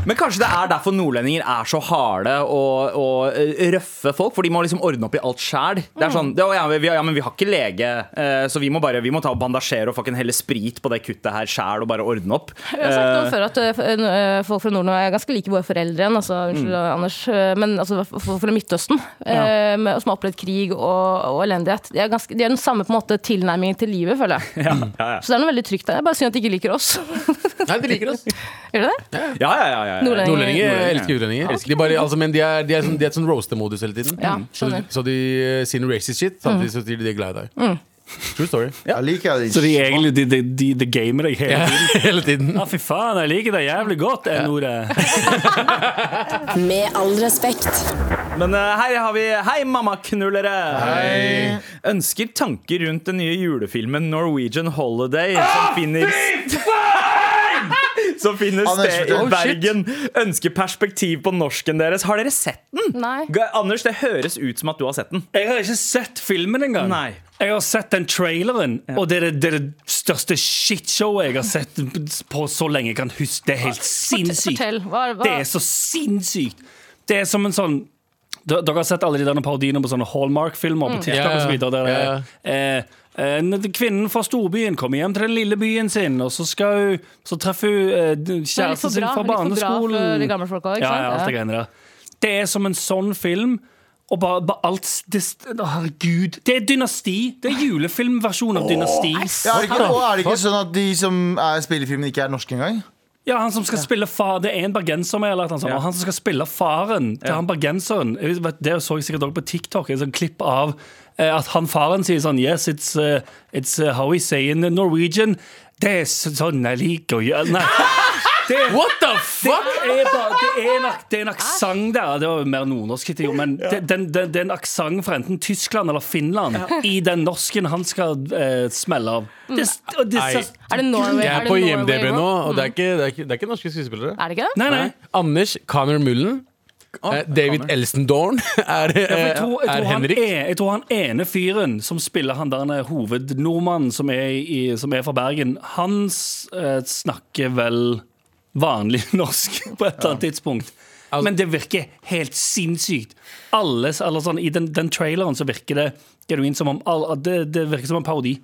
B: Men kanskje det er derfor nordlendinger er så harde og, og eh, røffe folk? For de må liksom ordne opp i alt sjæl. Det er sånn det, å, ja, vi, ja, men vi har ikke lege, eh, så vi må bare vi må ta og bandasjere og fucking helle sprit på det kuttet her sjæl og bare ordne opp. Eh,
A: Jeg har sagt om før at øh, f- øh, folk fra Norden er ganske like våre foreldre igjen, altså, unnskyld Anders, øh, men altså, f- folk fra Midtøsten øh, med, som har opplevd krig og, og elendighet, de er, ganske, de er den samme på en måte tilnærmingen til livet, føler jeg.
B: Ja, ja, ja.
A: Så det er noe veldig trygt der. Jeg bare synd at de ikke liker oss.
E: Nei, de liker oss.
A: Gjør de det?
B: ja, ja, ja, ja, ja.
A: Nordlendinger.
E: Nordlendinger jeg Eh, elsker utlendinger. De bare, altså, men de er, de er, sånn, de er et sånn roaster-modus hele tiden.
A: Ja,
E: så,
A: skjønner. Mm.
E: så de eh, sier noe racist shit, samtidig så sier de de er glad i deg. True story.
C: Jeg liker det.
D: Så de egentlig de, de, de, de gamer deg hele tiden.
E: hele tiden.
D: Ja, fy faen, jeg liker det jævlig godt, eh, det ordet.
F: Med all respekt.
B: Men eh, her har vi Hei, mammaknullere! Hei. Ønsker tanker
E: Ah,
B: rundt den nye julefilmen Norwegian Holiday som finner som finnes
C: Anders,
B: sted i
C: fortell.
E: Oh, shit.
B: Bergen. Ønsker perspektiv på norsken deres. Har dere sett den?
A: Nei.
B: Ga- Anders, det høres ut som at du har sett den.
D: Jeg har ikke sett filmen engang.
B: Nei.
D: Jeg har sett den traileren, og det er det, det, er det største shitshowet jeg har sett på så lenge jeg kan huske. Det er helt sinnssykt.
A: Fortell. Hva, hva?
D: Det er så sinnssykt. Det er som en sånn D- Dere har sett alle de der parodiene på sånne Hallmark-filmer
A: Mm.
D: på TikTok
E: Ja, ja.
D: og så videre, der det
E: Ja,
D: er, eh, en- Kvinnen fra storbyen kommer hjem til den lille byen sin, og så, skal hun, så treffer hun eh,
A: litt for
D: kjæresten sin
A: bra-
D: fra
A: litt for bra
D: barneskolen.
A: for de gamle folka, ikke
D: ja,
A: sant?
D: ja, alt det
A: Ja.
D: greiene der. Det er som en sånn film. Og bare, bare alt det, å, Herregud. Det er dynasti. Det er julefilmversjon av dynasti.
C: Ja, er det ikke, og er det ikke sånn at de som er, spiller i filmen, ikke er norske engang?
D: Ja, han som skal spille far Det er en bergenser med eller et eller annet sånt, og Han som skal spille faren til han bergenseren Jeg vet- vet- Det så jeg sikkert også på TikTok Et sånt klipp av eh, At han faren sier sånn Yes, it's, uh, it's uh, how we say in Norwegian Det er så- sånn jeg liker å gjøre Nei det,
E: What the fuck?
D: det er, bare, det, er en, ak- det er en aksang der. Det var jo mer nordnorsk, etter jo, men det, den, den, det er en aksang fra enten Tyskland eller Finland i den norsken han skal eh, smelle av. Det, s- og det,
E: Nei.
D: s-
A: Er det Norway?
E: Jeg
A: er
E: er
A: det
E: på
A: Norway
E: IMDb nå,
A: Road?
E: og det er ikke, det er ikke, det er ikke norske skuespillere.
A: Er det ikke det?
D: nei, nei.
E: Anders Connor Mullen. eh, David Elstendorn er,
D: Jeg
E: eh,
D: tror, jeg,
E: er
D: tror han
E: Henrik.
D: er, jeg tror han ene fyren som spiller han der han er hovednordmannen som er, i, som er fra Bergen, han s- eh, snakker vel vanlig norsk på et eller annet tidspunkt. Men det virker helt sinnssykt. Alle, s- eller sånn, I den, den traileren så virker det genuint som om all, at det, det virker som en parodi.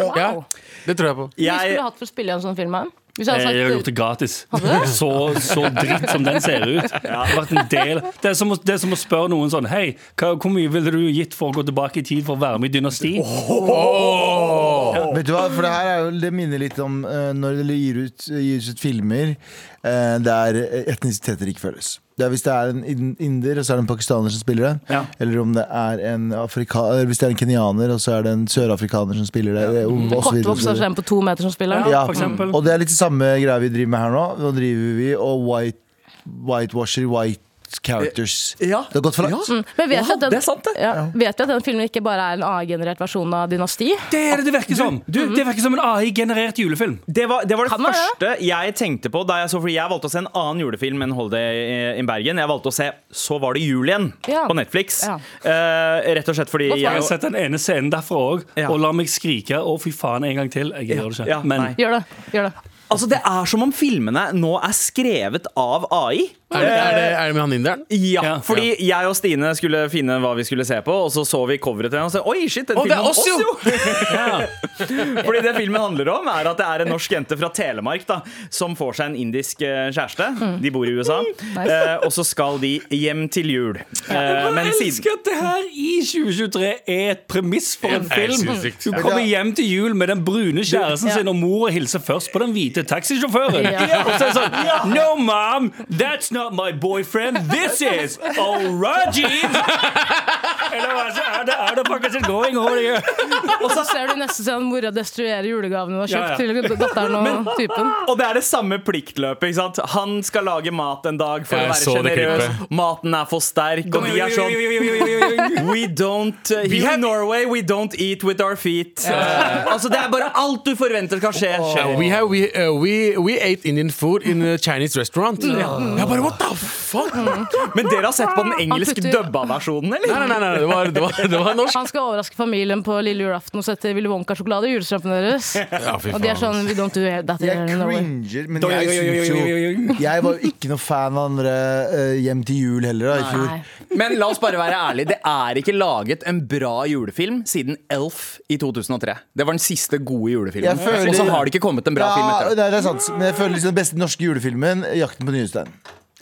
A: Wow.
E: Ja, det tror jeg på.
A: Hva
B: Jeg-
A: skulle du hatt for å spille i en sånn film? her? Hvis jeg
D: Jeg
A: hadde
D: har
A: sagt-
D: gjort det gratis.
A: Hadde du?
D: Så, så dritt som den ser ut. Det, har vært en del. det, er som å, det er som å spørre noen sånn Hei, hva, hvor mye ville du gitt for å gå tilbake i tid for å være med i Dynasti?
C: Vet du hva, for det her er jo, det minner litt om eh, når det gir ut, gir ut filmer eh, der etnisiteter ikke føles. Det er hvis det er en in- inder, og så er det en pakistaner som spiller det.
D: Ja.
C: Eller om det er en afrika, eller hvis det er en kenyaner, og så er det en sørafrikaner som spiller det. det og, og så videre, og så
A: Kortvokst og
C: videre.
A: en på to meter som spiller?
C: Ja,
D: for eksempel.
C: og det er litt det samme greia vi driver med her nå. Nå driver vi og white, whitewasher white characters.
B: Ja.
C: Det har gått for langt.
A: Mm. Men vet vi at den,
B: det er sant, det.
A: Ja, vet vi at den filmen ikke bare er en A-generert versjon av Dynasti?
D: Det er det det virker som! Mm-hmm. det virker som en AI-generert julefilm.
B: Det var det, var det
A: Kan være
B: første jeg tenkte på da jeg så Fordi jeg valgte å se en annen julefilm enn Holiday in Bergen. Jeg valgte å se Så var det jul igjen
A: Ja.
B: på Netflix.
A: Ja.
B: Eh, rett og slett fordi
D: Jeg har
B: jeg,
D: sett den ene scenen derfra òg,
B: Ja.
D: og la meg skrike 'å, fy faen' en gang til. Jeg gjør det ikke.
B: ja,
D: Men eh,
B: nei.
A: Gjør det. Gjør det.
B: Altså Det er som om filmene nå er skrevet av AI.
E: Er det, er det, er det med han inderen?
B: Ja,
D: Ja.
B: fordi jeg og Stine skulle finne hva vi skulle se på, og så så vi coveret til den og så Oi, shit, den
E: Å, det er
B: filmen om
E: oss, jo!»
B: fordi det filmen handler om, er at det er en norsk jente fra Telemark da som får seg en indisk eh, kjæreste.
E: Mm.
B: De bor i USA.
A: Nice.
B: Eh, og så skal de hjem til jul. Eh,
D: jeg
B: men siden
D: elsker at det her i 2023 er et premiss for en
E: Ja, det er
D: film.
E: helt sykt.
D: Hun kommer hjem til jul med den brune kjæresten
A: Ja.
D: sin, og mora hilser først på den hvite taxisjåføren.
A: Ja.
D: Og så er det sånn No, mom! That's not my boyfriend. This is Orajin! Eller hva så er det? Er det faktisk going over here?
A: Og så ser du nesten sånn mora destruerer julegavene hun har
D: Ja, ja.
A: kjøpt til datteren og typen.
B: Og det er det samme pliktløpet. ikke sant? Han skal lage mat en dag for
E: Jeg
B: å
E: så
B: være
E: det
B: sjenerøs. Maten er for sterk, og de er sånn We don't uh, Here in Norway, we don't eat with our feet. Eh, altså, Det er bare alt du forventer skal skje.
E: Uh,
B: skjer.
E: we, have, we, uh, we, we ate Indian food in a Chinese restaurant.
A: Mm.
E: Jeg bare, what the fuck?
B: Men dere har sett på den engelsk
A: putter-
B: dubba versjonen, eller?
E: Nei, nei, nei, nei det, var, det, var, det var norsk.
A: Han skal overraske familien på lille julaften og sette Willy Wonka-sjokolade i julestrømpen deres.
E: fy
A: Og de er sånn We don't do that
C: Jeg
A: here in Norway.
C: cringer, men jeg syns jo Jeg var jo ikke noe fan av andre eh, Hjem til jul heller da, i fjor.
A: Nei.
B: Men la oss bare være ærlige. Det er ikke laget en bra julefilm siden Elf i 2003. Det var den siste gode julefilmen.
C: Jeg føler-
B: Og så har det ikke kommet en bra film
C: Ja,
B: etter det.
C: det er- det er sant, men jeg føler liksom den beste norske julefilmen, 'Jakten på nyestein'.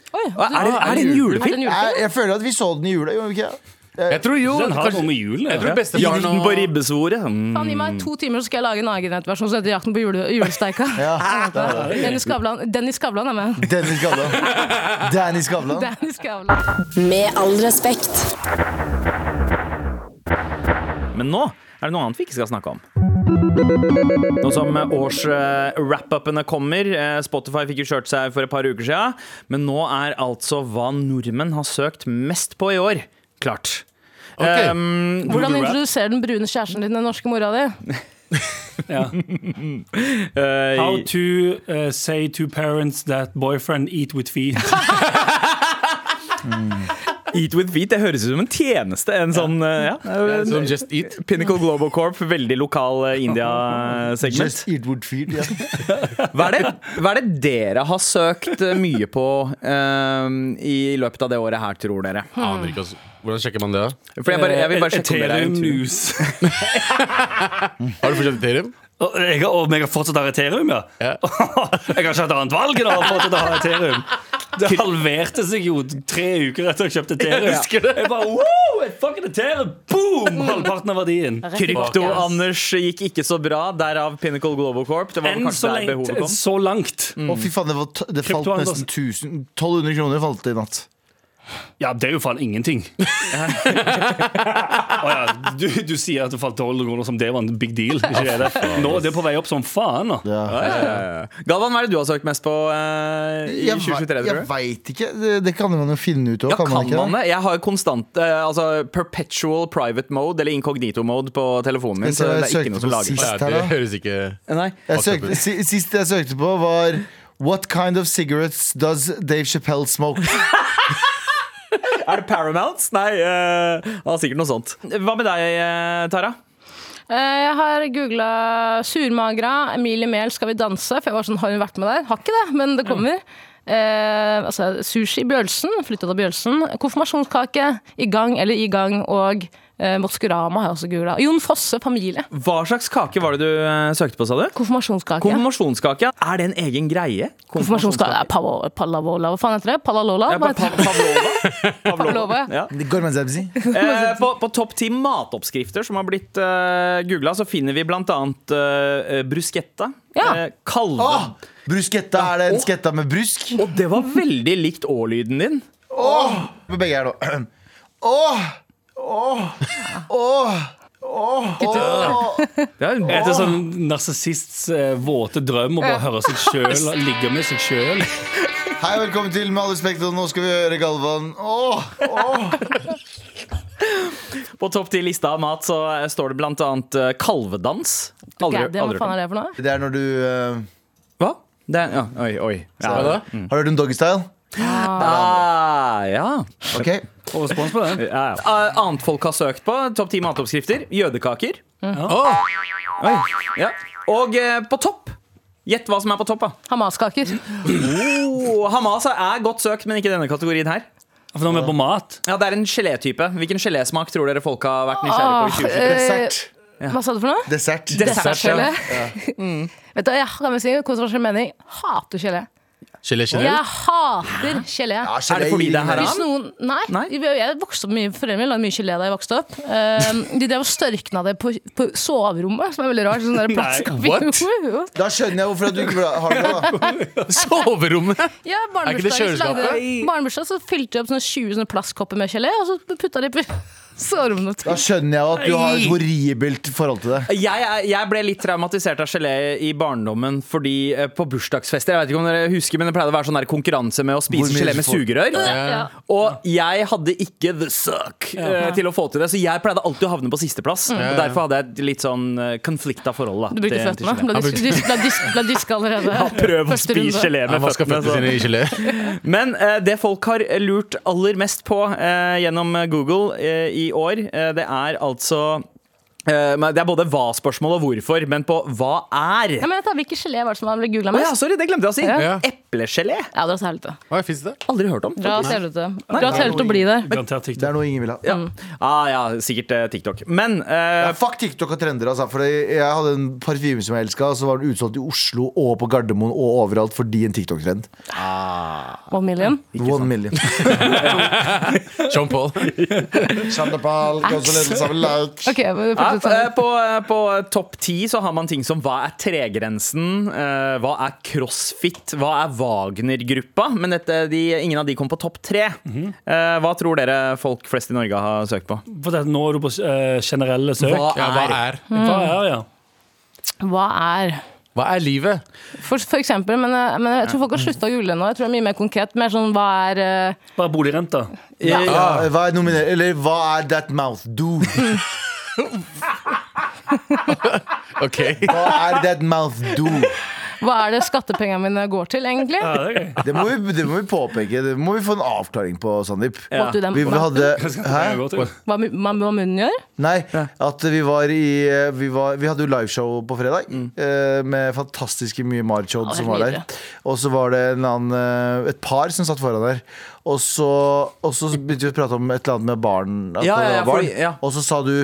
A: Oi,
B: Er det, er det en
A: er det
B: julefilm?
A: en
C: Jeg,
A: julefilm?
C: jeg føler at vi så den i jula, gjorde vi ikke? det?
E: Jeg tror jo
D: Den har
E: kanskje,
D: noe med julen å
E: Jeg tror
D: gjøre.
E: bestefaren
B: Jakten på hmm.
E: og
B: ribbesvoret.
A: Faen, gi meg to timer, så skal jeg lage en agenett versjon som heter Jakten på jule, julesteika.
C: Ja, Ah, det er det.
A: Dennis Skavlan, Dennis Skavlan er med.
C: Danny Skavlan. Danny Skavlan.
A: Dennis Skavlan.
F: Med all respekt.
B: Men nå er det noe annet vi ikke skal snakke om. Nå som eh, års-wrap-upene kommer eh, Spotify fikk jo kjørt seg for et par uker siden. Men nå er altså hva nordmenn har søkt mest på i år, klart.
E: Ok.
B: Um,
A: eh, Hvordan introduserer den brune kjæresten din den norske mora di?
D: Ja.
B: Eh,
D: How to eh, say to parents that boyfriend eat with feet.
B: Eat with feet, det høres ut som en tjeneste. En sånn, eh, ja.
E: Som Just Eat.
B: Pinnacle Global Corp, veldig lokal eh, India-segment.
C: Just eat wood feet. Ja.
B: Hva, er det- hva er det dere har søkt eh, mye på eh, i løpet av det året her, tror dere?
E: Aner ikke, altså. Hvordan sjekker man det? da?
B: For jeg, bare, jeg vil bare sjekke om dere er
D: Ethereum
B: en tur.
D: news.
E: Har du fortsatt Ethereum?
D: Og jeg, har- og jeg har fortsatt å ha Ethereum, ja?
E: Ja.
D: Jeg har ikke hatt annet valg enn å ha fortsatt å ha Ethereum. Det halverte seg jo tre uker etter jeg kjøpte Ethereum.
B: Jeg husker det.
D: Jeg bare, wow, jeg fucking Ethereum, boom! Halvparten av verdien.
B: Krypto-Anders gikk ikke så bra, derav Pinnacle Global Corp. Det var vel
D: Enn så,
B: kanskje der
D: lengt,
B: behovet kom.
D: så langt.
B: Mm.
C: Å, fy faen, det, var t det falt
D: Kryptohandel.
B: altså.
C: nesten 1000 1200 kroner falt det i natt.
D: Ja, det er jo faen ingenting. Å ja, du, du sier at det falt 12 kroner som det var en big deal. Ikke det, det? Nå er det på vei opp som faen. nå.
C: Ja.
B: Galvan, hva er det du har søkt mest på eh, i 2023?
C: Jeg, vei-
B: tror du?
C: jeg veit ikke. Det, det kan man jo finne ut av.
B: Ja,
C: kan man ikke det?
B: det? Jeg har konstant eh, altså perpetual private mode eller incognito mode på telefonen min. Så
C: Skal vi se
B: det er ikke noe
C: hva jeg søkte
B: som
C: på
B: lager
C: sist?
B: seg.
E: Ja,
C: her,
E: det
C: da?
E: høres ikke
B: Nei.
C: Jeg søkte, si- siste jeg søkte på, var What kind of cigarettes does Dave Chappelle smoke?
B: Er det Paramounts? Nei, eh, det var sikkert noe sånt. Hva med deg, eh, Tara?
A: Eh, Jeg har googla surmagra, Emilie Mehl, skal vi danse? For jeg var sånn, har hun vært med der? Har ikke det, men det kommer. Eh, altså, sushi Bjølsen, flytta til Bjølsen. Konfirmasjonskake, i gang eller i gang, og eh, Maskorama har jeg også googla. Jon Fosse, familie.
B: Hva slags kake var det du eh, søkte på, sa du?
A: Konfirmasjonskake.
B: Konfirmasjonskake. Er det en egen greie?
A: Konfirmasjonskake ja, Pavo- Palavola, hva faen heter det? Palalola?
B: Ja,
A: Hva
B: pa-
A: heter
B: pa-
A: det?
B: Pavlova.
A: Pavlova, ja.
B: Ja.
C: Gorman Zabzi.
B: Eh, på på topp ti matoppskrifter som har blitt uh, googla, så finner vi blant annet eh, bruschetta.
A: Ja.
B: eh, kalve.
C: Åh, brusketta! Er det en sketta med brusk?
B: Og det var veldig likt å-lyden din.
C: Åh, med begge her nå. Åh! Åh! Åh! Åh! Åh!
B: Det er en
D: Er det sånn narsissists eh, våte drøm å bare høre seg sjøl ligge med seg sjøl?
C: Hei, velkommen til Med all respekt, og nå skal vi høre Galvan. Åh! Åh!
B: På topp ti lista av mat så eh, står det blant annet eh, kalvedans. Aldri,
A: Gaddi, hva
B: aldri
A: faen er det for noe?
C: Det er når du eh,
B: Hva? Det er, ja, oi, oi. Ja.
E: Hva da?
C: Har du hørt om doggystyle?
B: Ah, ja.
C: Ok.
D: Og respons på det?
B: Ja, ja. Eh, Annet folk har søkt på. Topp ti matoppskrifter. Jødekaker.
E: Åh,
B: Oi. Ja. Og eh, på topp Gjett hva som er på topp. da
A: Hamaskaker.
B: oh, Hamas er godt søkt, men ikke i denne kategorien her.
D: For nå er vi på mat.
B: Ja, Det er en gelétype. Hvilken gelésmak tror dere folk har vært nysgjerrig på? i 2023?
C: Dessert.
A: Hva sa du for noe?
C: Dessert.
A: Dessertgelé. Vet du, hva, jeg kan vel si kontroversiell mening. Hater gelé.
E: Gelé generelt?
A: Jeg hater gelé.
C: Ja, gelé
B: Er det fordi
C: gir
B: det her
C: mer-
B: er-
A: Hvis noen, nei,
B: Nei?
A: Jeg vokste opp mye Foreldrene mine lagde mye gelé da jeg vokste opp. Um, de drev og størkna det på, på soverommet, som er veldig rart. Sånn der plastikk oppi
E: what?
A: hodet, jo.
C: Da skjønner jeg hvorfor at du ikke bra- har det. da
E: Soverommet!
A: Ja,
E: Er ikke det
A: barnebursdagen så lagde
E: kjøleskapet?
A: barnebursdag, så fylte de opp sånne 20 sånne plastkopper med gelé, og så putta de på soverommet.
C: Da skjønner jeg at du har et horribelt forhold til det.
B: Jeg, er- jeg ble litt traumatisert av gelé i barndommen fordi eh, på bursdagsfester Jeg vet ikke om dere husker, men det pleide å være sånn der konkurranse med å spise
C: Hvor mye
B: gelé
C: du
B: med
C: får.
B: sugerør.
A: Ja.
B: Og jeg hadde ikke the suck eh, til å få til det, så jeg pleide alltid å havne på sisteplass. Og Derfor hadde jeg et litt sånn eh, konflikt av forhold. Da,
A: Du brukte
B: til- til
A: føttene.
B: gelé.
A: Ble disk- dis- Ble disk- ble diska allerede.
B: Ja, Prøv å
A: Første runde.
B: spise gelé
E: Han
B: med
E: vaska
B: føttene.
E: føttene sine
B: så.
E: i gelé.
B: Men eh, det folk har lurt aller mest på eh, gjennom Google eh, i år, eh, det er altså eh, men Det er både hva-spørsmål og hvorfor, men på hva er?
A: Ja, men jeg tar, Hvilken gelé var det som ble googla
B: Å ja,
A: mest?
B: sorry, det glemte jeg å si.
E: Ja.
B: Eplegelé.
A: Ja, dra til helvete.
E: Hva er fins det?
B: Aldri hørt om.
A: Dra til helvete. Dra til helvete og bli der.
D: Garantert
C: Det
D: TikTok.
C: er noe ingen vil ha.
B: Ja. Ah, ja, sikkert eh, TikTok. Men eh,
C: Ja, fuck TikTok og trender, altså. For jeg hadde en parfyme som jeg elska, og så var den utsolgt i Oslo og på Gardermoen og overalt fordi en TikTok-trend.
A: One million.
C: One million.
E: Sean Paul.
C: Chandapal, konsulent, samelat.
A: Ok, men
B: ja,
A: fortsett sånn.
B: eh, på, eh, på topp ti så har man ting som hva er tregrensen, eh, hva er crossfit, hva er Wagner-gruppa? Men dette, de, ingen av de kom på topp tre. Eh, hva tror dere folk flest i Norge har søkt på?
D: For det, nå er du på eh, generelle søk.
B: Hva
E: Ja, hva er
D: Hva er, ja?
A: Hva er
E: Hva er livet?
A: For, for eksempel, men, eh, men jeg tror folk har slutta å google nå. Jeg tror det er mye mer konkret. Mer sånn hva er eh,
D: Hva er boligrenta?
C: Mm. Ja, hva er nominer... Eller hva er that mouth do?
E: Ok.
C: Hva er that mouth do?
A: Hva er det skattepengene mine går til, egentlig?
D: Ja, det er gøy.
C: Det må vi, det må vi påpeke. Det må vi få en avklaring på, Sandeep.
A: What do them-
C: Vi hadde Hæ?
D: Det er godt, jo.
A: Hva, mu- hva munnen gjør?
C: Nei, at vi var i eh, Vi, var, vi hadde jo liveshow på fredag
B: Mm.
C: eh, med fantastiske mye Marchod
A: Ja,
C: som
A: helt
C: var der.
A: nydelig.
C: Og så var det en annen, eh, et par som satt foran der. Og så, og så begynte vi å prate om et eller annet med barn. At
B: Ja, ja,
C: det
B: ja,
C: var barn.
B: fordi- ja.
C: Og så sa du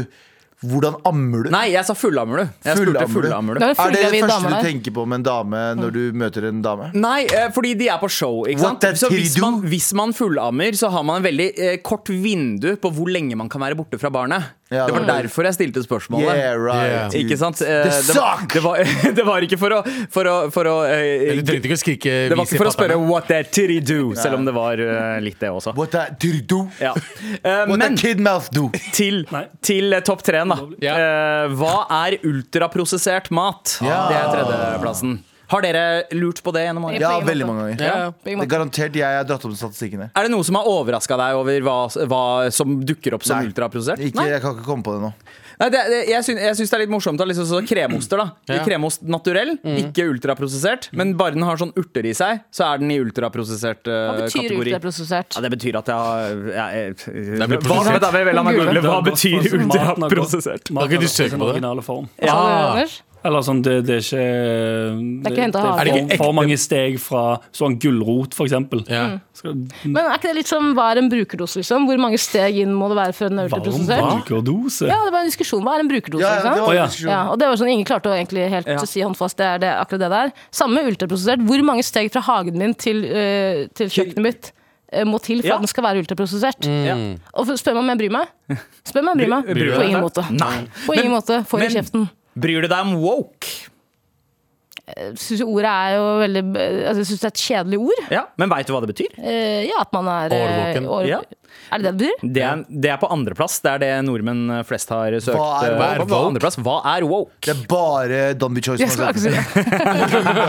C: Hvordan ammer du?
B: Nei, jeg sa fullammer du. Jeg spurte
C: Fullammer du?
B: fullammer
A: Det
B: du. Mm.
A: var en
C: Er det det
A: fullgravid
C: første
A: dame
C: du
A: der.
C: tenker på med en dame når du møter en dame?
B: Nei, eh, fordi de er på show. ikke
C: What
B: sant?
C: that
B: Så hvis
C: till do?
B: man, hvis man fullammer, så har man en veldig eh, kort vindu på hvor lenge man kan være borte fra barnet.
C: Ja,
B: det var
C: det er-
B: derfor jeg stilte spørsmålet.
C: Yeah,
E: Yeah.
C: right. dude.
B: Ikke sant? Eh,
C: Det suck!
B: Det, var, det var ikke for å, for å, for å eh,
E: Du trengte ikke å skrike
B: Det var
E: «Vis i
B: ikke for å spørre
E: patterne».
B: 'what that titty do', selv om det var eh, litt det også.
C: What that did you do?
B: Ja. Eh,
C: What
B: men
C: that kid mouth do?
B: til,
D: Nei.
B: til eh, topp treen, da.
E: Ja.
B: Eh, hva er ultraprosessert mat?
C: Ja.
B: Det er tredjeplassen. Har dere lurt på det gjennom året?
C: Ja,
A: På ingen
C: veldig
A: måte.
C: mange ganger.
E: Ja, ja.
A: På ingen
C: Det er
A: måte.
C: garantert jeg har dratt opp statistikken her.
B: Er det noe som har overraska deg over hva, hva som dukker opp som
C: Nei.
B: ultraprosessert?
C: Ikke,
B: Nei?
C: jeg kan ikke komme på det nå.
B: Nei, det, det, jeg, syns, jeg syns det er litt morsomt at liksom, så kremoster. da
E: Ja.
B: Kremost naturell, ikke ultraprosessert. Men bare den har sånn urter i seg, så er den i ultraprosessert
A: Hva
B: eh,
A: betyr
B: kategori.
A: ultraprosessert?
B: Ja, det betyr at jeg har jeg, jeg,
E: ble
B: Hva,
E: prosessert.
B: da vil jeg vel la meg google, hva betyr
D: Altså, maten har gått-
B: ultraprosessert?
D: maten
E: Kan ikke
D: har
E: du
D: gått i
E: søke
D: sin
E: på det?
D: originale form.
A: Sa du det,
B: Ja.
A: Anders?
D: Eller sånn, det, det er ikke
A: Det er ikke hentet
D: for-
A: havet. Er
E: det ikke ekte?
D: for mange steg fra sånn gulrot, for eksempel.
E: Ja.
A: Mm.
D: Skal
A: Men er ikke det litt som hva er en brukerdose, liksom? Hvor mange steg inn må det være før den er
D: varm
A: ultraprosessert?
D: brukerdose?
A: Ja, det var en diskusjon. Hva er en brukerdose?
C: Ja, ja,
A: ikke sant?
C: det var
D: Å, ja.
C: en diskusjon.
A: Ja, og det var sånn Ingen klarte å egentlig helt
B: Ja.
A: si håndfast det er det, akkurat det der. Samme ultraprosessert. Hvor mange steg fra hagen min til, eh, til kjøkkenet mitt eh, må til for
B: Ja.
A: at den skal være ultraprosessert?
B: Ja.
A: Og for- spør meg om jeg bryr meg? Spør meg om jeg bryr meg.
B: Bryr du
A: På
B: deg?
A: ingen måte.
B: Nei.
A: På ingen
B: Men-
A: måte. Får i
B: men-
A: kjeften.
B: Bryr du deg om woke?
A: Syns jo ordet er jo veldig altså, Jeg syns det er et kjedelig ord.
B: Ja. Men veit du hva det betyr?
A: Eh, ja, at man er eh,
E: Årvåken.
A: år-
B: Ja.
A: Er det det det betyr?
B: Det er, det er på andreplass. Det er det nordmenn flest har søkt.
C: Hva er-
B: eh,
E: hva er
B: på
E: woke?
B: andreplass. Hva er woke?
C: Det er bare Don B. Choice
A: Jeg
C: som
A: skal
C: har
A: ikke
C: sett
A: si
C: det.
A: det.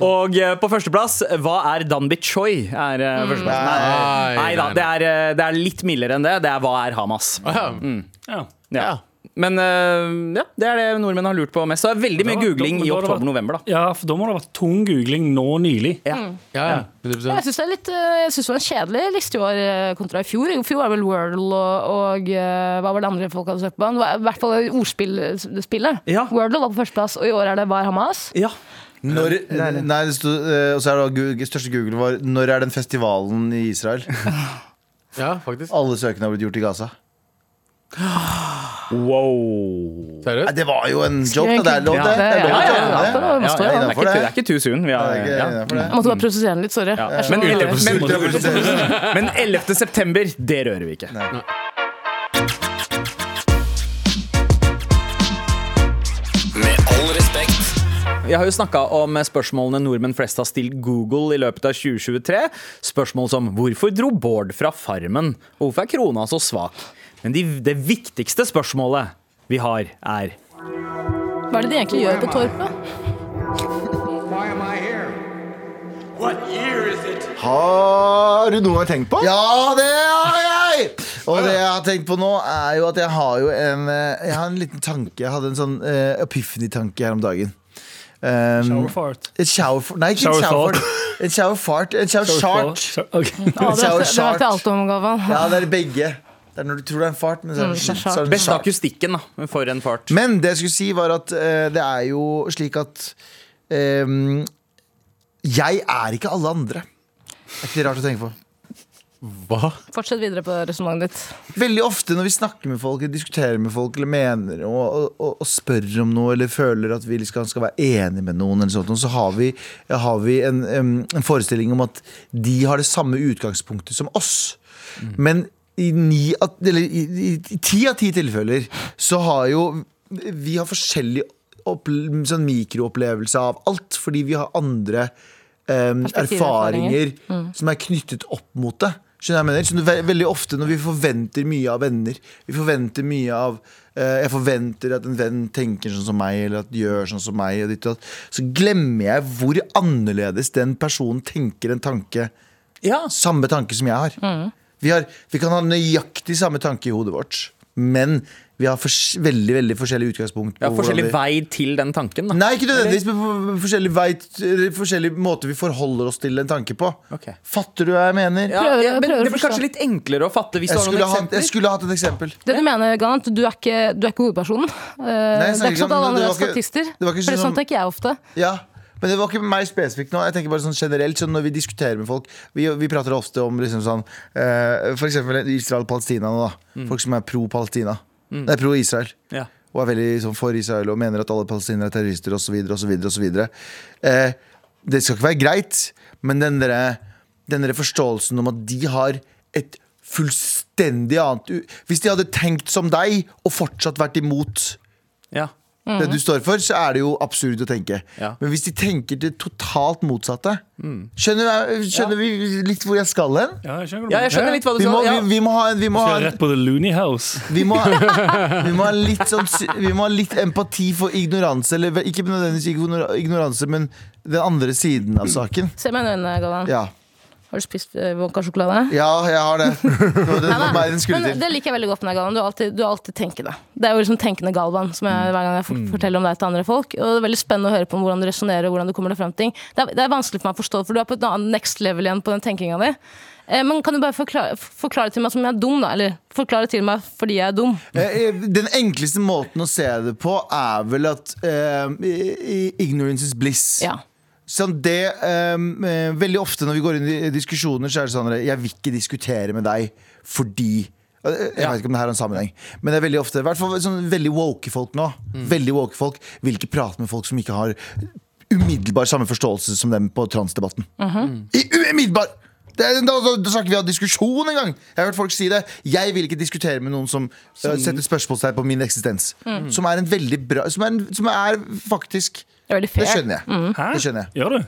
B: Og eh, på førsteplass, hva er Danby Choi? Er, eh, førsteplassen.
E: Nei,
B: nei da,
E: nei,
B: det er, eh, det er litt mildere enn det. Det er hva er Hamas?
E: Ja. Mm.
D: Ja.
B: Ja. Men eh, ja, det er det nordmenn har lurt på mest. Så det er veldig mye
D: Da- da-
B: googling
D: da-
B: i
D: da- da-
B: oktober-november, da.
D: Ja, for da må det ha vært tung googling nå nylig.
B: Ja.
E: Ja, ja. 100%.
A: Jeg syns det, er litt, eh, jeg synes det var en kjedelig liste i år eh, kontra i fjor. I fjor var det vel Wordle og, og eh, hva var det andre folk hadde søkt på? Det var I hvert fall ordspillspillet.
B: Ja.
A: Wordle var på førsteplass, og i år er det Var Hamas.
B: Ja.
C: Når, nei, det sto, eh, og så er det Google, største Google var Når er den festivalen i Israel?
E: ja, faktisk.
C: Alle søkene har blitt gjort i Gaza.
B: Wow.
C: Nei,
E: Seriøst?
C: det var jo en
A: Skulle
C: joke, da. Det er lov,
A: egentlig-
C: det. Det er
A: Ja,
C: lov å joke om
A: ja, ja,
C: det.
A: ja, ja,
B: Ja,
A: står
B: ja,
A: jo.
B: det, er ikke,
C: det.
B: det er ikke too soon. Vi
C: Nei,
B: har,
C: det er
B: ja.
C: ikke innenfor det.
A: Jeg måtte bare prosessere den litt, sorry.
B: Ja.
A: Jeg er så-
B: Men,
D: ultraprosessert.
B: men,
C: Det er provoserende.
B: men 11. september, det rører vi ikke.
G: Med all respekt.
B: Jeg har jo snakka om spørsmålene nordmenn flest har stilt Google i løpet av 2023. Spørsmål som 'Hvorfor dro Bård fra Farmen?' og 'Hvorfor er krona så svak?' Men de, det viktigste spørsmålet vi har, er
A: Hva er det de egentlig gjør på Torpet?
C: Har du noen gang tenkt på? Ja, det har jeg! Og det jeg har tenkt på nå, er jo at jeg har jo en, eh, jeg har en liten tanke. Jeg hadde en sånn uh, epiphany-tanke her om dagen. Um,
D: Showerfart.
C: Et shower... Nei, ikke
D: Shower
C: en shower fart. En shower fart. En shower shart.
A: Ja,
C: Sour
A: det vet det vet jeg
C: Shark.
A: alt om, Gavan.
C: Ja, det er begge. Det er når du tror det er en fart, men så er det,
A: Mm, det er
C: så
A: shart.
C: er det en
B: Beste
C: shart.
B: akustikken da, for en fart.
C: Men det jeg skulle si, var at eh, det er jo slik at ehm, Jeg er ikke alle andre. Det er ikke det rart å tenke på.
E: Hva?
A: Fortsett videre på resonnementet ditt.
C: Veldig ofte når vi snakker med folk, eller diskuterer med folk eller mener og, og- og, og spør om noe, eller føler at vi liksom skal, skal være enige med noen, eller sånt, så har vi, har vi en, em, en forestilling om at de har det samme utgangspunktet som oss. Men i, ni, av- eller, i, i, i ti av ti tilfeller så har jo vi har forskjellig opp, sånn mikroopplevelse av alt, fordi vi har andre em,
A: Perspektiver, erfaringer.
C: erfaringer venner som er knyttet opp mot det. Skjønner du hva jeg mener? Så det er ve- veldig ofte når vi forventer mye av venner Vi forventer mye av eh, Jeg forventer at en venn tenker sånn som meg, eller at de gjør sånn som meg, og ditt og datt. Så glemmer jeg hvor annerledes den personen tenker en tanke.
B: Ja.
C: Samme tanke som jeg har. Vi, har vi kan ha nøyaktig samme tanke i hodet vårt, men Vi har fors veldig veldig forskjellig utgangspunkt. på
H: Ja,
C: hvordan
H: forskjellig
C: vi-
H: vei til den tanken, da.
C: Nei, ikke nødvendigvis, men på forskjellig, vei, eller forskjellig måte vi forholder oss til en tanke på.
H: Ok.
C: Fatter du hva jeg mener?
H: Ja,
A: Prøver-
H: ja, men
A: prøver å
H: det blir
A: forstå.
H: kanskje litt enklere å fatte hvis du
C: Jeg,
H: har noen
C: skulle hatt,
H: eksempler.
C: jeg skulle hatt et eksempel.
A: Det du mener, Ganant, du er ikke, du er ikke hovedpersonen. Eh,
C: jeg snakker
A: det er ikke sånn
C: ikke
A: at alle
C: om- det
A: andre
C: var
A: er
C: ikke-
A: statister.
C: det var ikke
A: For
C: sånn om-
A: sånn tenker jeg ofte.
C: Ja, men det var ikke meg spesifikt nå. Jeg tenker bare sånn generelt sånn Når vi diskuterer med folk Vi, vi prater ofte om liksom sånn eh, For eksempel Israel-Palestina nå da
H: Mm.
C: Folk som er pro-Palestina Nei, pro-Israel
H: Ja.
C: Og er veldig sånn for Israel Og mener at alle palestinere er terrorister Og så videre og så videre og så videre eh, Det skal ikke være greit Men den der, den der forståelsen om at de har et fullstendig annet u- Hvis de hadde tenkt som deg Og fortsatt vært imot
H: Ja.
C: det du står for, så er det jo absurd å tenke.
H: Ja.
C: Men hvis de tenker det totalt motsatte Skjønner, jeg, skjønner vi litt hvor jeg skal hen?
D: Ja, jeg skjønner,
H: ja, jeg skjønner litt hva du
C: Vi
H: sa.
C: må, vi,
H: Ja.
C: vi må ha en vi må ha,
D: Skal
C: en-
D: rett på The Looney House.
C: vi må, ha- vi må ha litt sånn sy- Vi må ha litt empati for ignoranse Eller vel, ikke nødvendigvis ignora- ignoranse Men den andre siden av saken
A: Se meg i øynene, Galvan.
C: Ja,
A: Har du spist eh, vodka-sjokolade?
C: ja jeg har det Det var det
A: Nei,
C: var
A: nei.
C: meg den skulle
A: Men
C: til
A: det liker jeg veldig godt med deg, Galvan. Du er alltid, du er alltid tenkende. Det er jo liksom tenkende Galvan som jeg, hver gang
C: Mm.
A: jeg for- forteller om deg til andre folk. Og det er veldig spennende å høre på om hvordan du resonnerer og hvordan du kommer deg frem til ting. Det er, det er vanskelig for meg å forstå, for du er på et annet next level igjen på den tenkinga di. Eh, Men kan du bare forklare, forklare til meg som jeg er dum, da? Eller forklare til meg fordi jeg er dum?
C: Eh, eh, Den enkleste måten å se det på Er vel at eh, i- i- Ignorance is bliss
A: Ja.
C: Sånn, det, ehm, eh, veldig ofte når vi går inn i diskusjoner, så er det sånn at jeg vil ikke diskutere med deg fordi Eh, jeg vet ikke om det her har en sammenheng, men det er veldig ofte i hvert fall sånn veldig woke folk nå. Veldig woke folk Vil ikke prate med folk som ikke har umiddelbar samme forståelse som dem på transdebatten. Mm. I umiddelbar! Det er, da, da, da skal ikke vi ha diskusjon engang! Jeg har hørt folk si det. Jeg vil ikke diskutere med noen som, eh, setter spørsmålstegn på min eksistens. Som er en veldig bra Som er, en, som er faktisk
A: Det er veldig
C: Det
A: fair.
C: skjønner jeg.
D: Hæ?
C: Det skjønner jeg.
D: Gjør du?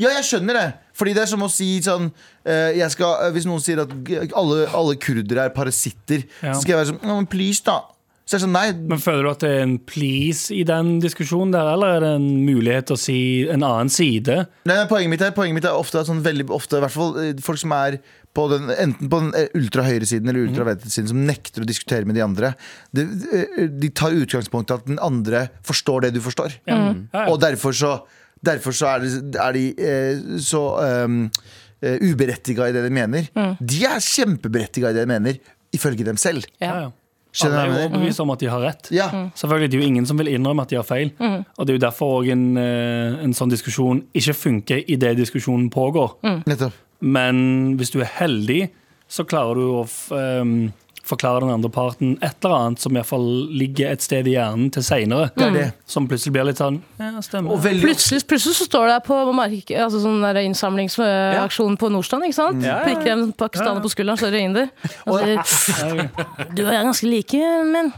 C: Ja, jeg skjønner det. Fordi det er som å si sånn eh, jeg skal, eh, Hvis noen sier at g- alle, alle kurdere er parasitter,
D: Ja.
C: så skal jeg være sånn «Ja, men Please, da. Så jeg er sånn, nei
D: Men Føler du at det er en please i den diskusjonen der, eller er det en mulighet til å si en annen side?
C: Nei, nei, poenget, mitt er, poenget mitt er ofte at sånn veldig ofte, i hvert fall eh, folk som er på den, enten på den eh, ultrahøyresiden
D: Mhm.
C: eller ultravenstresiden, som nekter å diskutere med de andre. De, eh, de tar utgangspunkt i at den andre forstår det du forstår.
A: Mm.
D: Ja, ja.
C: Og derfor så, derfor så er, det, er de eh, så um, uberettiga i det de mener.
D: Mm.
C: De er kjempeberettiga i det de mener, ifølge dem selv.
D: Ja, ja. Alle
C: Skjønner
D: er
C: du hva
D: jo
C: jeg mener?
D: overbevist om at de har rett.
C: Ja.
D: Selvfølgelig, Det er jo ingen som vil innrømme at de har feil. Og det er jo derfor også en, eh, en sånn diskusjon ikke funker idet diskusjonen pågår.
C: Nettopp.
D: Men hvis du er heldig, så klarer du å f- ehm, forklare den andre parten et eller annet som i hvert fall ligger et sted i hjernen til
C: Det er
D: seinere.
C: det.
D: Som plutselig blir litt sånn Ja, stemmer.
C: Og veldig
A: Plutselig, plutselig så står det her på mark, altså sånn der innsamlingsaksjon på Nordstrand. ikke sant? Prikker en pakistaner på skulderen, så er det inder. Og sier, du er ganske like, men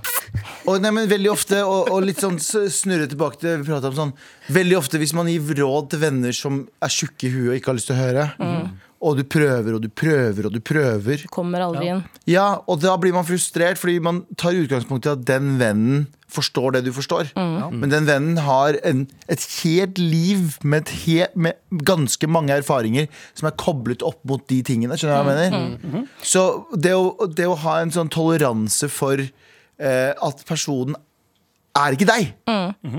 C: Og, nei, men veldig ofte, og, og litt sånn s- snurre tilbake til det vi pratet om sånn Veldig ofte hvis man gir råd til venner som er tjukke i huet og ikke har lyst til å høre,
D: Mm.
C: og du prøver og du prøver og du prøver
A: kommer aldri inn.
C: Ja, og da blir man frustrert fordi man tar utgangspunkt i at den vennen forstår det du forstår. Men den vennen har en, et helt liv med, et he, med ganske mange erfaringer som er koblet opp mot de tingene. Skjønner du hva jeg mener? Så det å, det å ha en sånn toleranse for eh, at personen er ikke deg.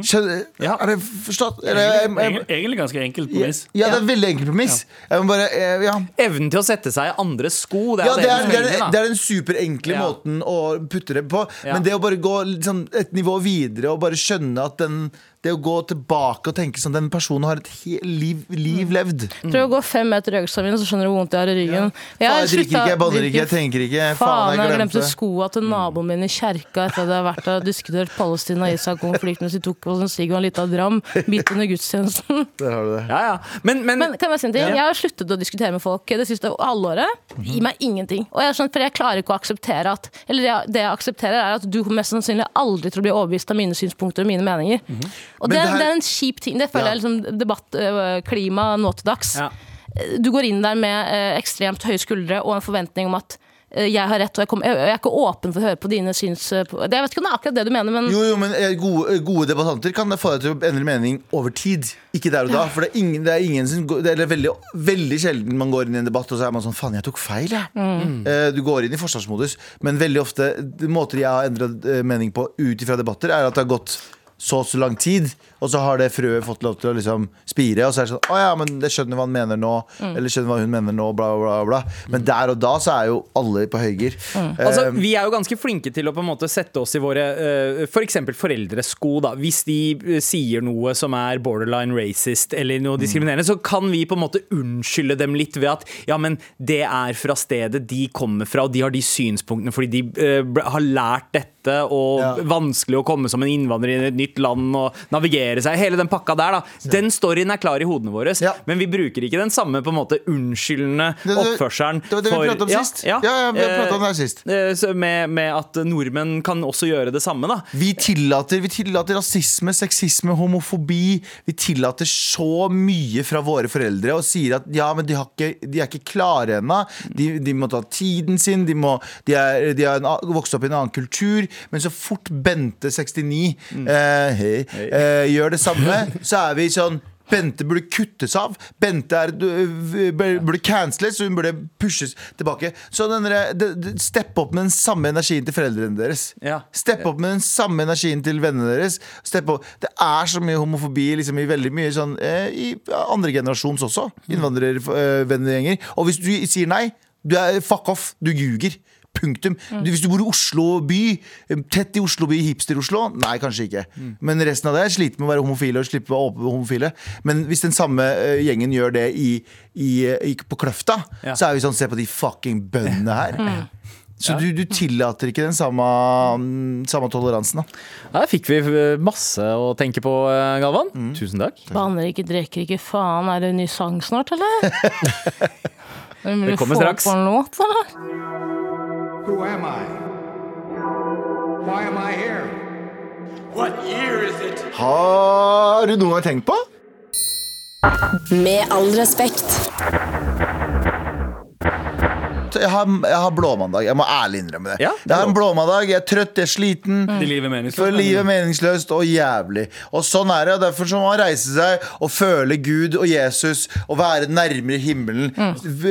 C: Skjønner, Er det forstått? Er det, jeg, jeg,
D: Egentlig, egentlig ganske enkelt premiss.
C: ja, det er veldig enkelt premiss. Jeg må bare, eh, ja
H: Evnen til å sette seg i andres sko, det er
C: ja,
H: jo
C: det, er,
H: det,
C: det,
H: du
C: er,
H: trenger,
C: det
H: da.
C: er den superenkle
H: Ja.
C: måten å putte det på.
H: Ja.
C: Men det å bare gå litt sånn et nivå videre og bare skjønne at den Det å gå tilbake og tenke sånn den personen har et he liv, liv levd.
A: Prøv å gå fem meter i øyeksammen, så skjønner du hvor vondt jeg har i ryggen.
C: Faen,
A: har
C: jeg drikker ikke,
A: sluttet
C: jeg banner
A: å
C: ikke, jeg
A: drikke.
C: tenker ikke.
A: Faen, jeg glemte
C: det.
A: skoa til naboen min i kjerka etter at jeg hadde vært der og diskutert Palestina-Israel-konflikten, så de tok oss en sigg og en liten dram midt under gudstjenesten.
C: Der har du det.
H: Ja, ja. Men, men,
A: Men kan jeg bare si en ting? Jeg har sluttet å diskutere med folk det siste halvåret. Gi meg ingenting. Og jeg, er sånn, for jeg klarer ikke å akseptere at Eller jeg, det jeg aksepterer, er at du kommer mest sannsynlig aldri til å bli overbevist av mine synspunkter og mine meninger. Og
C: Men det
A: det,
C: her-
A: det er en kjip ting. Det føler
C: Ja.
A: jeg er liksom debattklima nå til dags.
H: Ja.
A: øh, Du går inn der med eh, ekstremt høye skuldre og en forventning om at eh, jeg har rett, og jeg, kommer- jeg, jeg er ikke åpen for å høre på dine syns... eh, på- det- Jeg vet ikke om det er akkurat det du mener, men
C: Jo, jo, men eh, gode, gode debattanter kan da få deg til å endre mening over tid. Ikke der og da. For det er ingen, det er ingen som går, det er veldig, veldig sjelden man går inn i en debatt og så er man sånn Faen, jeg tok feil, jeg. Eh, Du går inn i forsvarsmodus. Men veldig ofte de måter jeg har endra mening på ut ifra debatter, er at det har gått så og så lang tid, og så har det frøet fått lov til å liksom spire. Og så er det sånn Å ja, men jeg skjønner hva han mener nå. Eller skjønner hva hun mener nå, bla, bla, bla. Men der og da så er jo alle på høygir. Eh,
B: Altså, vi er jo ganske flinke til å på en måte sette oss i våre eh, for f.eks. foreldresko. da Hvis de eh, sier noe som er borderline racist eller
C: Mm.
B: noe diskriminerende, så kan vi på en måte unnskylde dem litt ved at ja, men det er fra stedet de kommer fra, og de har de synspunktene fordi de eh, ble- har lært dette, og
C: Ja.
B: vanskelig å komme som en innvandrer inn i et nytt land og navigere seg. Hele den pakka der, da. Den storyen er klar i hodene våre,
C: Ja.
B: men vi bruker ikke den samme på en måte unnskyldende
C: Det- det-
B: oppførselen
C: det var det vi pratet om
B: ja,
C: sist. Ja, ja, vi har pratet om det her
B: Eh,
C: sist.
B: Eh, så med, med at nordmenn kan også gjøre det samme, da.
C: Vi tillater, vi tillater rasisme, sexisme, homofobi. Vi tillater så mye fra våre foreldre og sier at ja, men de, har ikke, de er ikke klare ennå. De, de må ta tiden sin. De, må, de, er, de har en, a- vokst opp i en annen kultur. Men så fort Bente 69 eh, hei, eh, gjør det samme, så er vi sånn Bente burde kuttes av. Bente er, øh, burde canceles, så hun burde pushes tilbake. Så denne, de- de- Stepp opp med den samme energien til foreldrene deres.
B: Ja.
C: Stepp opp med den samme energien til vennene deres. Stepp opp. Det er så mye homofobi liksom, i veldig mye sånn eh, I andre generasjons også. Innvandrervennegjenger. Og hvis du sier nei, du er fuck off. Du ljuger. Punktum. Du, hvis du bor i Oslo by, eh, tett i Oslo by, hipster-Oslo, nei, kanskje ikke. Men resten av det sliter med å være homofile og slipper å være åpne homofile. Men hvis den samme eh, gjengen gjør det i, i, eh, i, på Kløfta, så er vi sånn Se på de fucking bøndene her. Så du, du tillater ikke den samme, mm, samme toleransen, da.
B: Der fikk vi eh, masse å tenke på, eh, Galvan.
C: Mm.
B: Tusen takk.
A: banner ikke, drikker ikke, faen. Er det en ny sang snart, eller?
B: Det kommer straks.
A: Får på en låt, eller?
I: Who am I? Why am I here?
C: Har du noen gang tenkt på?
F: Med all respekt.
C: Jeg har, jeg har blåmandag. Jeg må ærlig innrømme det.
B: Ja, det er
C: jeg har en blåmandag, jeg er trøtt, jeg er sliten.
D: Det livet er meningsløst.
C: For livet er meningsløst og jævlig. Og sånn er det. og Derfor så må man reise seg og føle Gud og Jesus og være nærmere himmelen.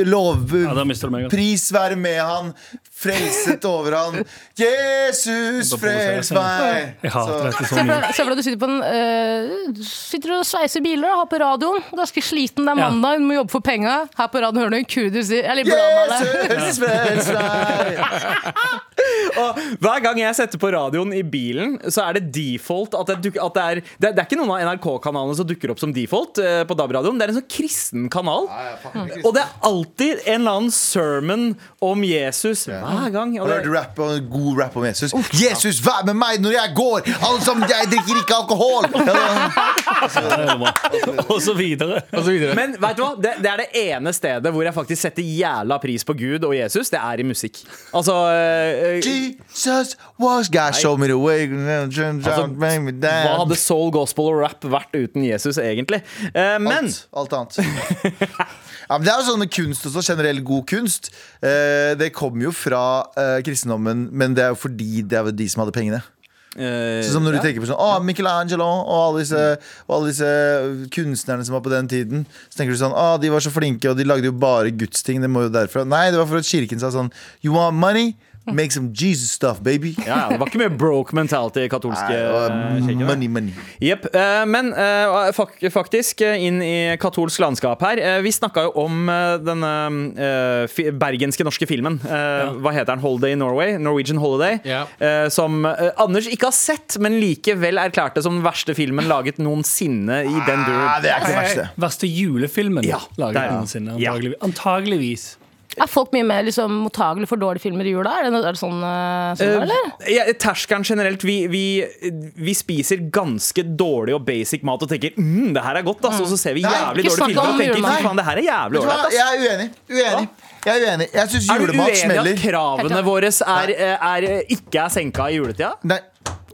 C: Lov,
D: Mm. Ja, da mister du meg. altså.
C: Pris være med han, frelset over han. Jesus,
D: Da provoserer
C: frels meg!
D: sånn. Jeg hater dette så
A: Se for
D: mye.
A: deg- se for deg at du sitter, på en, eh, du sitter og sveiser biler og har på radioen. Ganske sliten, det er
D: Ja.
A: mandag, du må jobbe for penga. Her på radioen hører du en kurder si Eller blåmale.
C: Jesus, frels meg!
B: Og hver gang jeg setter på radioen i bilen, så er det default at det, duk- at det er det, det er ikke noen av NRK-kanalene som dukker opp som default eh, på DAB-radioen. Det er en sånn kristen kanal. Og det er alltid en eller annen sermon om Jesus hver gang. Og
C: Har
B: det,
C: du hørt rap og god rap om Jesus? Jesus, vær med meg når jeg går! Alle sammen, jeg drikker ikke alkohol!
D: Og så videre.
E: Og så videre.
B: men vet du hva? Det, det er det ene stedet hvor jeg faktisk setter jævla pris på Gud og Jesus. Det er i musikk. Altså eh, eh,
C: Jesus was God, show me the way Don't make me down.
B: Altså, Hva hadde soul, gospel og rap vært uten Jesus, egentlig? Eh, men
C: alt, alt annet. Ja, men det er jo sånn med kunst også, generell god kunst. Eh, det kommer jo fra eh, kristendommen, men det er jo fordi det er jo de som hadde pengene.
B: eh,
C: Så som når du
B: ja. Mm.
C: tenker på sånn, å, Michelangelo og alle, disse, og alle disse kunstnerne som var på den tiden Så tenker du sånn, å, de var så flinke og de lagde jo bare gudsting Det må jo derfra Nei, det var for at kirken sa sånn You want money? Make some Jesus stuff, baby
B: ja, ja, Det var ikke mye broke mentality i
C: Nei,
B: katolske
C: det var
B: eh, kirker, da.
C: Money, money
B: Jepp. eh, men eh, fak faktisk, eh, inn i katolsk landskap her. Eh, vi snakka jo om eh, denne eh, fi bergenske norske filmen. Eh, Hva heter den? Holiday in Norway? Norwegian Holiday.
E: Ja.
B: Eh, som eh, Anders ikke har sett, men likevel erklærte som den verste filmen laget noensinne i den
C: Nei,
B: duren.
C: Ah, det er ikke det verste
D: Verste julefilmen
B: Ja,
D: laget
B: der, ja.
D: noensinne.
B: Ja.
D: Antagelig, antageligvis.
A: Er folk mye mer liksom, mottagelige for dårlige filmer i jula? Er det, er det sånn, eh, sånn eller?
B: Eh, ja, terskelen generelt vi, vi, vi spiser ganske dårlig og basic mat og tenker mm, det her er godt, ass. Og så ser vi
C: Nei,
B: jævlig
A: ikke
B: dårlige
A: snakk
B: filmer
A: om
B: og tenker
A: julemat.
B: fy faen, det her er jævlig
C: Vet du hva?
B: ålreit, ass.
C: Jeg er uenig, uenig Jeg er uenig, jeg
B: Er
C: synes
B: du
C: julemat
B: uenig i at
C: smeller
B: kravene våre er, eh, er, ikke er senka i juletida?
C: Nei,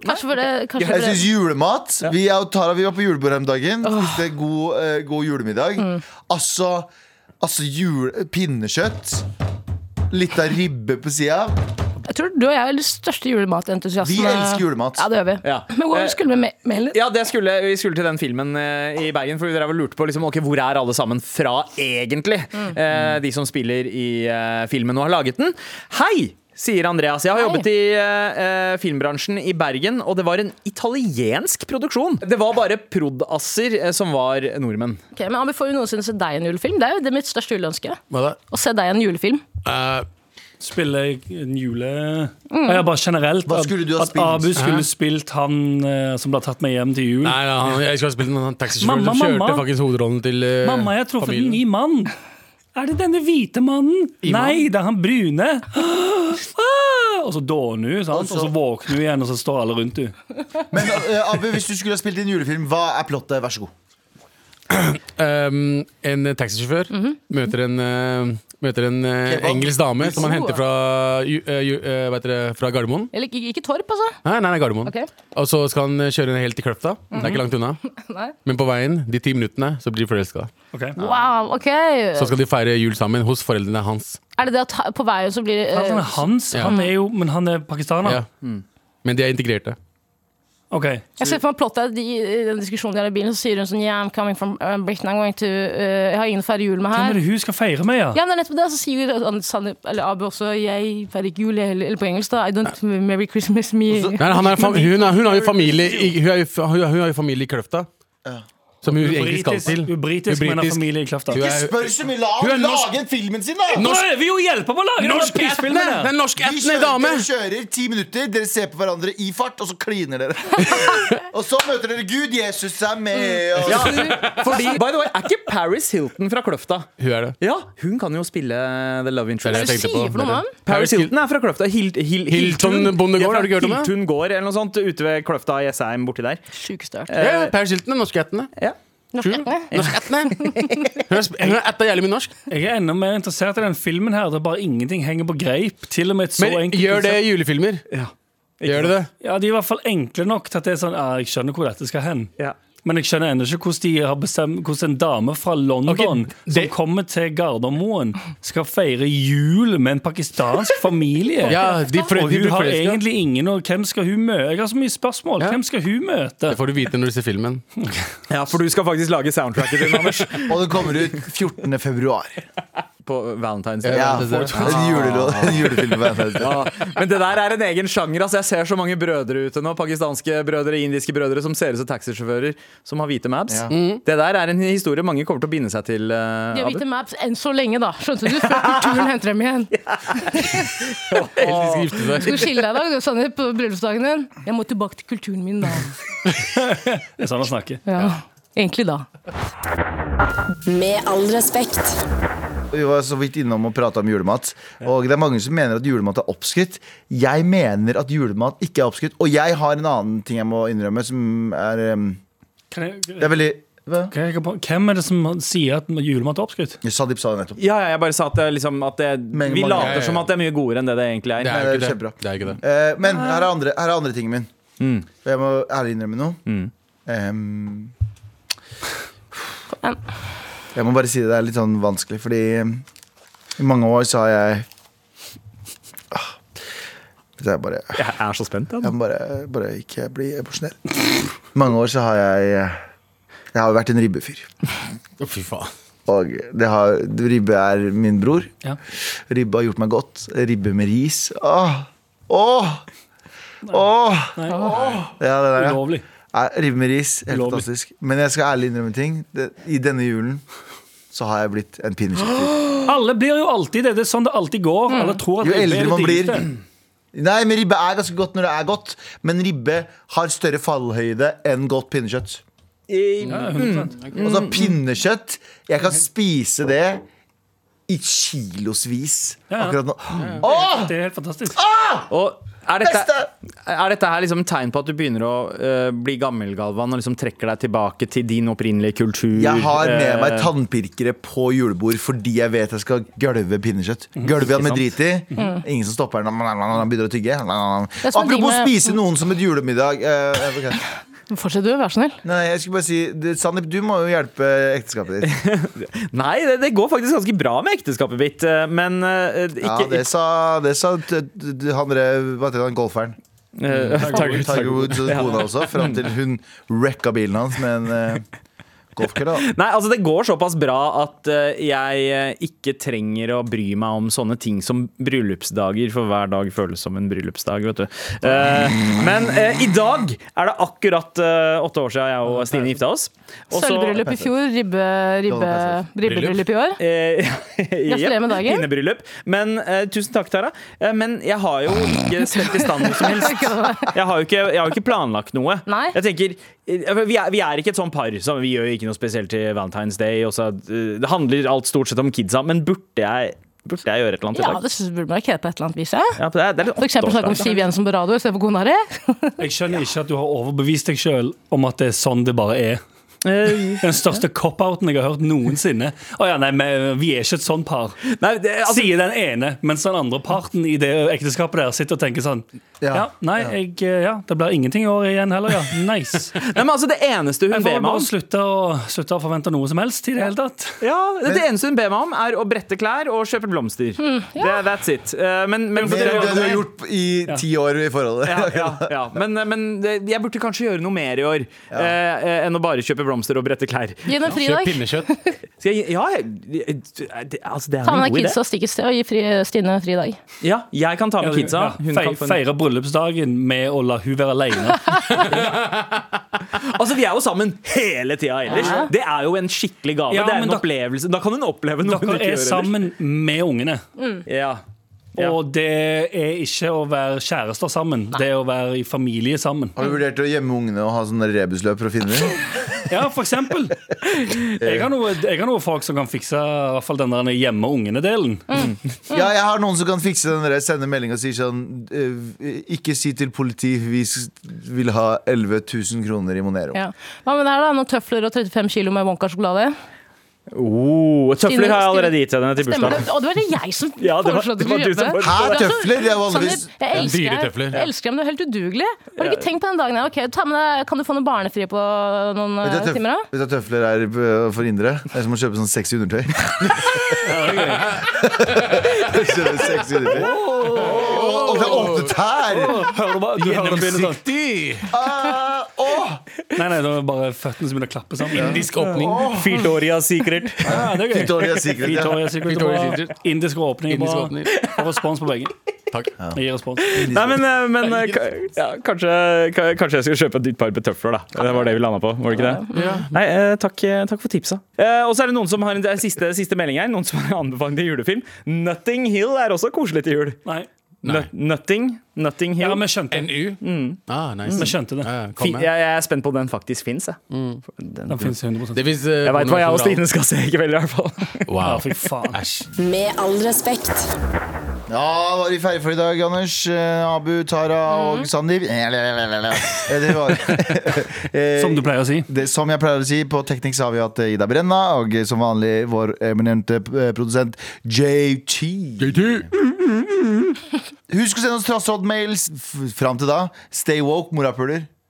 A: Kanskje for det, kanskje
C: jeg
A: for
C: synes
A: det.
C: julemat Vi, jeg og Tara, vi var på julebord her om dagen Spiste god, eh, god julemiddag Altså, altså jule, pinnekjøtt Litt av ribbe på sida.
A: Jeg tror du og jeg er de største julematentusiastene.
C: Vi elsker julemat.
A: Ja, det gjør vi.
B: Ja. Eh,
A: Men hvor skulle vi med, med heller?
B: Ja, det skulle, vi skulle til den filmen eh, i Bergen, for vi drev og lurte på liksom, ok, hvor er alle sammen fra egentlig? Eh, de som spiller i eh, filmen og har laget den. Hei! Sier Andreas. Jeg har
A: Hei.
B: jobbet i eh, eh, filmbransjen i Bergen, og det var en italiensk produksjon. Det var bare prod.asser eh, som var nordmenn.
A: Ok, men Amir, får du noensinne se deg i en julefilm? Det er jo det mitt største juleønske.
E: Hva da?
A: Å se deg i en julefilm.
E: Eh,
D: Spiller jeg en jule... Ja, bare generelt.
C: Hva
D: at-
C: skulle du ha
D: at
C: spilt?
D: Abu
E: Hæ?
D: skulle spilt han eh, som ble tatt med hjem til jul.
E: nei, nei, han, jeg skulle ha spilt med han taxisjåføren
D: Mamma,
E: som kjørte
D: mamma.
E: faktisk hovedrollen til eh,
D: Mamma, jeg har truffet en
E: familien.
D: ny mann. Er det denne hvite mannen? Nei, det er han brune. Ah! Og så dåner hun, sant? og så våkner hun igjen, og så står alle rundt henne.
C: Men eh, Abu, hvis du skulle ha spilt i en julefilm, hva er plottet? Vær så god.
E: Um, en taxisjåfør møter en, eh, møter en eh,
C: Kebab.
E: engelsk dame som han henter fra, ju- eh, ju- eh, hva heter det, fra Gardermoen.
A: Eller ikke, ikke Torp, altså.
E: Nei, nei, nei Gardermoen.
A: Ok.
E: Og så skal han eh, kjøre henne helt til Kløfta. Det er ikke langt unna.
A: Nei.
E: Men på veien, de ti minuttene, så blir de forelska.
D: Okay.
A: Wow, ok.
E: Så skal de feire jul sammen hos foreldrene hans.
A: Er det det at ha- på veien så blir det
D: Han
A: eh,
D: er hans, han er jo, men han er
E: Ja.
D: pakistaner.
C: Mm.
E: Men de er integrerte.
D: Ok,
A: Jeg ser for meg plottet at de, i den diskusjonen de har i bilen, så sier hun sånn Yeah, I'm coming from uh, Britain. I'm going to eh, Jeg har ingen å feire jul med
D: Hvem er
A: her.
D: det hun skal feire med, ja?
A: Ja, men det er nettopp det, så sier jo han- Sandeep, eller Abu også Jeg feirer ikke jul, jeg- eller på engelsk, da. I don't merry Christmas me.
E: Nei, han er fam hun, er, hun har jo familie i, hun har jo, fa- hun har- hun har jo familie i Kløfta. Som hun egentlig skal
D: Britisk,
E: til.
D: hun er britisk, men har
E: Britisk.
D: familie i kløfta.
E: Hun
D: Nå
E: er-
C: Spør så mye, la
E: Hun er
C: ham
E: norsk.
C: lage filmen sin, da!
D: prøver vi jo å hjelpe på å lage
E: Norsk
D: denne
E: etne!
D: prisfilmen
E: Det er
D: her.
E: norsk
C: Vi
E: etne
C: kjører,
E: dame!
C: dere kjører ti minutter, dere ser på hverandre i fart, og så kliner dere. og så møter dere Gud, Jesus er med. Og...
B: Ja, fordi, by the way, er ikke Paris Hilton fra Kløfta?
E: Hun er det.
B: Ja, hun kan jo spille The Love
E: Det er
B: Interest.
E: det jeg tenkte
A: sier for
E: på.
A: noe, mann?
B: Paris Hilton er fra Kløfta. Hil Hil
E: Hilton
B: Ja,
E: Bondegård,
B: fra
E: har du ikke hørt om det?
B: Hiltun gård eller noe sånt ute ved Kløfta i Jessheim, borti der.
A: Sjukeste jeg har hørt.
E: Ja, ja, Paris Hilton er norsk etne.
B: Ja.
A: Norsk eh? etne.
E: Eh, Norsk etne. Hun har sp- hun har etta jævlig mye norsk.
D: Jeg er enda mer interessert i den filmen her, der bare ingenting henger på greip. Til og med et så
E: Men
D: enkelt liksom.
E: gjør det
D: konsept.
E: i julefilmer. Gjør det det?
D: Ja, de er i hvert fall enkle nok til at det er sånn, ja, jeg skjønner hvor dette skal hen.
B: Ja.
D: Men jeg skjønner ennå ikke hvordan, de har bestemt, hvordan en dame fra London
E: Ok,
D: som
E: det-
D: kommer til Gardermoen, skal feire jul med en pakistansk familie.
E: Ja, de frø-
D: og
E: de
D: hun
E: blir
D: har
E: forelska.
D: egentlig ingen og Hvem skal hun møte? Jeg har så mye spørsmål.
E: Ja.
D: Hvem skal hun møte?
E: Det får du vite når du ser filmen.
B: ja, for du skal faktisk lage soundtracket din, Anders.
C: Og den kommer ut 14. februar.
B: På Valentine's Day.
C: Ja,
E: det
C: for-
E: ser-
C: en, julelo- en julefilm. på Valentine's Day.
B: Ja, men det der er en egen sjanger. Altså, jeg ser så mange brødre ute nå. Pakistanske brødre, indiske brødre som ser ut som taxisjåfører som har hvite mabs.
C: Ja.
B: Det der er en historie mange kommer til å binde seg til. eh,
A: De har
B: Abu.
A: hvite maps enn så lenge, da. Skjønte du? Før kulturen henter dem igjen.
E: Helst de skal gifte
A: Skal
E: seg.
A: du skille deg i dag, du, Sandeep, på bryllupsdagen din? Jeg må tilbake til kulturen min, da.
D: Det er sånn han snakker.
A: Ja. Egentlig da.
F: Med all respekt.
C: Vi var så vidt innom og prata om julemat. Og det er mange som mener at julemat er oppskrytt. Jeg mener at julemat ikke er oppskrytt. Og jeg har en annen ting jeg må innrømme, som er um,
D: Kan jeg,
C: Det er veldig Hva?
D: kan jeg, hvem er det som sier at julemat er oppskrytt?
C: Sadip sa det nettopp.
B: Ja, ja, jeg bare sa at, det, er liksom, at det,
C: Men
B: vi
C: mange-
B: later
E: Ja, ja, ja.
B: som at det er mye godere enn det det egentlig er.
E: Det er
C: Nei,
E: jo
C: det er
E: ikke det.
C: kjempebra.
E: Det er ikke det.
C: Eh, men her er andre, her er andre tingen min. Og Jeg må ærlig innrømme noe. Ehm,
A: an.
C: jeg må bare si det, det er litt sånn vanskelig, fordi ehm, i mange år så har jeg Ah. Det er bare
B: Jeg er så spent.
C: Jeg må bare, bare ikke bli emosjonell. I mange år så har jeg Jeg har jo vært en ribbefyr.
E: Å, fy faen.
C: Og det har, ribbe er min bror.
D: Ja.
C: Ribbe har gjort meg godt. Ribbe med ris. Åh! Åh! Åh! Ja, det der, ja.
D: Ulovlig.
C: Nei, Rive med ris, helt
D: Ulovlig.
C: fantastisk. Men jeg skal ærlig innrømme en ting. Det, I denne julen så har jeg blitt en pinnekjøttfyr.
D: Mm. Alle blir jo alltid det. Det er sånn det alltid går. Alle tror at
C: Jo
D: det er det
C: eldre man blir
D: diggeste.
C: Nei, men ribbe er ganske godt når det er godt. Men ribbe har større fallhøyde enn godt pinnekjøtt.
D: Ja, 100%.
C: Altså pinnekjøtt Jeg kan spise det i kilosvis
D: Ja, ja.
C: akkurat nå. Åh!
D: Det er helt fantastisk.
B: Og er dette,
C: Beste!
B: er dette her liksom tegn på at du begynner å eh, bli gammel, Galvan, og liksom trekker deg tilbake til din opprinnelige kultur?
C: Jeg har med meg
B: eh,
C: tannpirkere på julebord fordi jeg vet jeg skal gølve pinnekjøtt.
D: Mhm.
C: Gølve han med drit i. Ingen som stopper han. Han begynner å tygge.
A: er som en ting
C: Apropos
A: med-
C: spise noen som et julemiddag. eh, ok.
A: Fortsett du, vær så snill.
C: Nei, jeg skulle bare si det, Sandeep, du må jo hjelpe ekteskapet ditt.
B: Nei, det, det går faktisk ganske bra med ekteskapet mitt, eh, men eh, ikke
C: Ja, det sa, det sa t- t- han der Hva heter han golferen? Mm,
B: eh, takk,
C: Tiger Woods og kona også, fram til hun wrecka bilen hans med en uh, golfkølle. da.
B: Nei, altså det går såpass bra at eh, jeg eh, ikke trenger å bry meg om sånne ting som bryllupsdager, for hver dag føles som en bryllupsdag, vet du. Eh, men eh, i dag er det akkurat eh, åtte år siden jeg og Stine gifta oss. Og så-
A: Sølvbryllup i fjor, ribbe, ribbe, ribbebryllup i år.
B: Eh,
A: Gratulerer med dagen.
B: Pinnebryllup. Men eh, tusen takk, Tara. Eh, men jeg har jo ikke stelt i stand noe som helst. Jeg har jo ikke, jeg har jo ikke planlagt noe.
A: Nei.
B: Jeg tenker eh, vi er, vi er ikke et sånn par. Så vi gjør jo ikke noe spesielt til Valentine's Day. Og så, eh, det handler alt stort sett om kidsa, men burde jeg, burde jeg gjøre et eller annet
A: Ja,
B: i dag?
A: det synes jeg burde markere på et eller annet vis. Ja.
B: Ja, for det er, det er litt altså.
A: For eksempel snakke om
B: åtteårsdag.
A: Siv Jensen på radio istedenfor kona di.
D: Jeg skjønner ikke at du har overbevist deg sjøl om at det er sånn det bare er. Den største cop-outen jeg har hørt noensinne. Å ja, nei, men vi er ikke et sånn par.
B: Nei, det, altså,
D: Sier den ene, mens den andre parten i det ekteskapet der sitter og tenker sånn.
C: Ja,
D: Ja, nei, jeg, eh, ja, det blir ingenting i år igjen heller, ja. Nice.
B: nei, men altså, det eneste hun
D: Jeg
B: ber
D: får
B: meg
D: bare
B: om
D: slutte å, slutte å forvente noe som helst i det hele tatt.
B: ja, det, det eneste hun ber meg om, er å brette klær og kjøpe blomster.
A: Hmm,
B: det, that's it. Eh, men, men,
C: Mer enn det du har gjort i ti år i forholdet.
B: ja, ja, ja. Men, eh, men det- jeg burde kanskje gjøre noe mer i år eh, eh, enn å bare kjøpe blomster og brette klær.
A: Gi henne en
E: Kjøp
A: fridag.
E: pinnekjøtt.
B: Skal jeg, ja, jeg, det, altså, det er
A: Ta
B: en
A: med deg
B: god idé.
A: kidsa og stikk et sted og gi fri, Stine en fridag.
B: Ja, jeg kan ta med kidsa.
D: Ja,
B: Hun
D: fei-
B: kan få en...
D: Feire bryllupsdagen med å la hun være alene.
B: Altså, Vi er jo sammen hele tida ellers. Det er jo en skikkelig gave.
D: Ja,
B: det er
D: men
B: en
D: da-
B: opplevelse. Da kan hun oppleve noe hun
D: Dere
B: ikke
D: er
B: gjør ellers.
D: sammen med ungene.
B: Ja. Ja.
D: Og det er ikke å være kjærester sammen, det er å være i familie sammen.
C: Har du vurdert å gjemme ungene og ha sånne rebusløp for å finne dem?
D: Ja, for eksempel. Jeg har noe- jeg har noen folk som kan fikse i hvert fall den der hjemme ungene-delen.
C: Ja, jeg har noen som kan fikse den der, sende melding og si sånn eh, Ikke si til politi, vi s- vil ha 11 000 kroner i Monero.
A: Ja. Hva med det her, da? Noen tøfler og 35 kilo med Wonka-sjokolade?
B: Oh, tøfler har jeg allerede gitt henne til
A: Stemmer det?
B: bursdagen.
A: Å, det var det jeg som
B: Ja, det var,
A: foreslo at
B: det
A: du
B: var
A: skulle
B: du som
A: kjøpe.
C: Hæ,
A: Du er så-
C: tøfler? Jeg var vanligvis
A: altså, Sandeep, Jeg elsker
E: Dyre
A: deg,
E: tøfler, ja.
A: jeg elsker deg, men du er helt udugelig. Har du ikke tenkt på den dagen? her? Ok, ta med deg, Kan du få noe barnefri på noen
C: Vet du
A: eh,
C: hva tøf-
A: timer? da?
C: vet du hva tøfler er eh, for indere? Det er som å kjøpe sånn sexy undertøy. Kjøpe sexy undertøy. Å, å, det er åpne tær!
D: Hører du bare? Du hører det begynner sånn.
E: Gjennomsiktig!
C: Ah, å!
D: Nei, nei, det var bare føttene som begynner å klappe sammen.
E: Indisk åpning.
B: Fitoria secret.
D: Ja, det er gøy.
C: Victoria's Secret, ja.
D: Victoria's Secret.
E: Victoria's
D: bra.
E: Secret.
D: Indisk åpning.
E: Indisk
D: bra.
E: åpning.
D: Og respons på begge.
E: Takk.
D: Jeg gir respons.
B: Nei, men, eh, men eh, ka- ja, kanskje, ka- kanskje jeg skal kjøpe et nytt par med tøfler, da. Det var det vi landa på, var det ikke det? Nei, eh, takk, eh, takk for tipsa. Eh, Og så er det noen som har en det er siste, siste melding her. Noen som har anbefaling til julefilm. Nutting Hill er også koselig til jul.
D: Nei.
E: Nei.
B: Nut- Nutting, Nutting Hill.
D: Ja, vi skjønte det.
E: NU. Ah, nice.
D: Vi skjønte det.
E: Ja, ja, kom
B: Fin,
E: med. Mm.
B: jeg, jeg er spent på om den faktisk fins. Jeg,
D: Den finnes 100
E: Det fins uh,
B: jeg veit hva jeg og Stine skal se i kveld, i hvert fall.
D: Ja,
E: Wow.
D: fy faen.
E: Æsj.
F: Med all respekt.
C: Ja, da var vi ferdige for i dag, Anders. Eh, Abu, Tara
A: Mhm.
C: og Sandeep. Eh, Det var Eh,
D: Som du pleier å si.
C: det, som jeg pleier å si, på Teknikk så har vi hatt eh, Ida Brenna, og eh, som vanlig vår eminente eh, produsent JT. Husk å sende oss trassodd-mails f- fram til da. Stay woke, morapuler.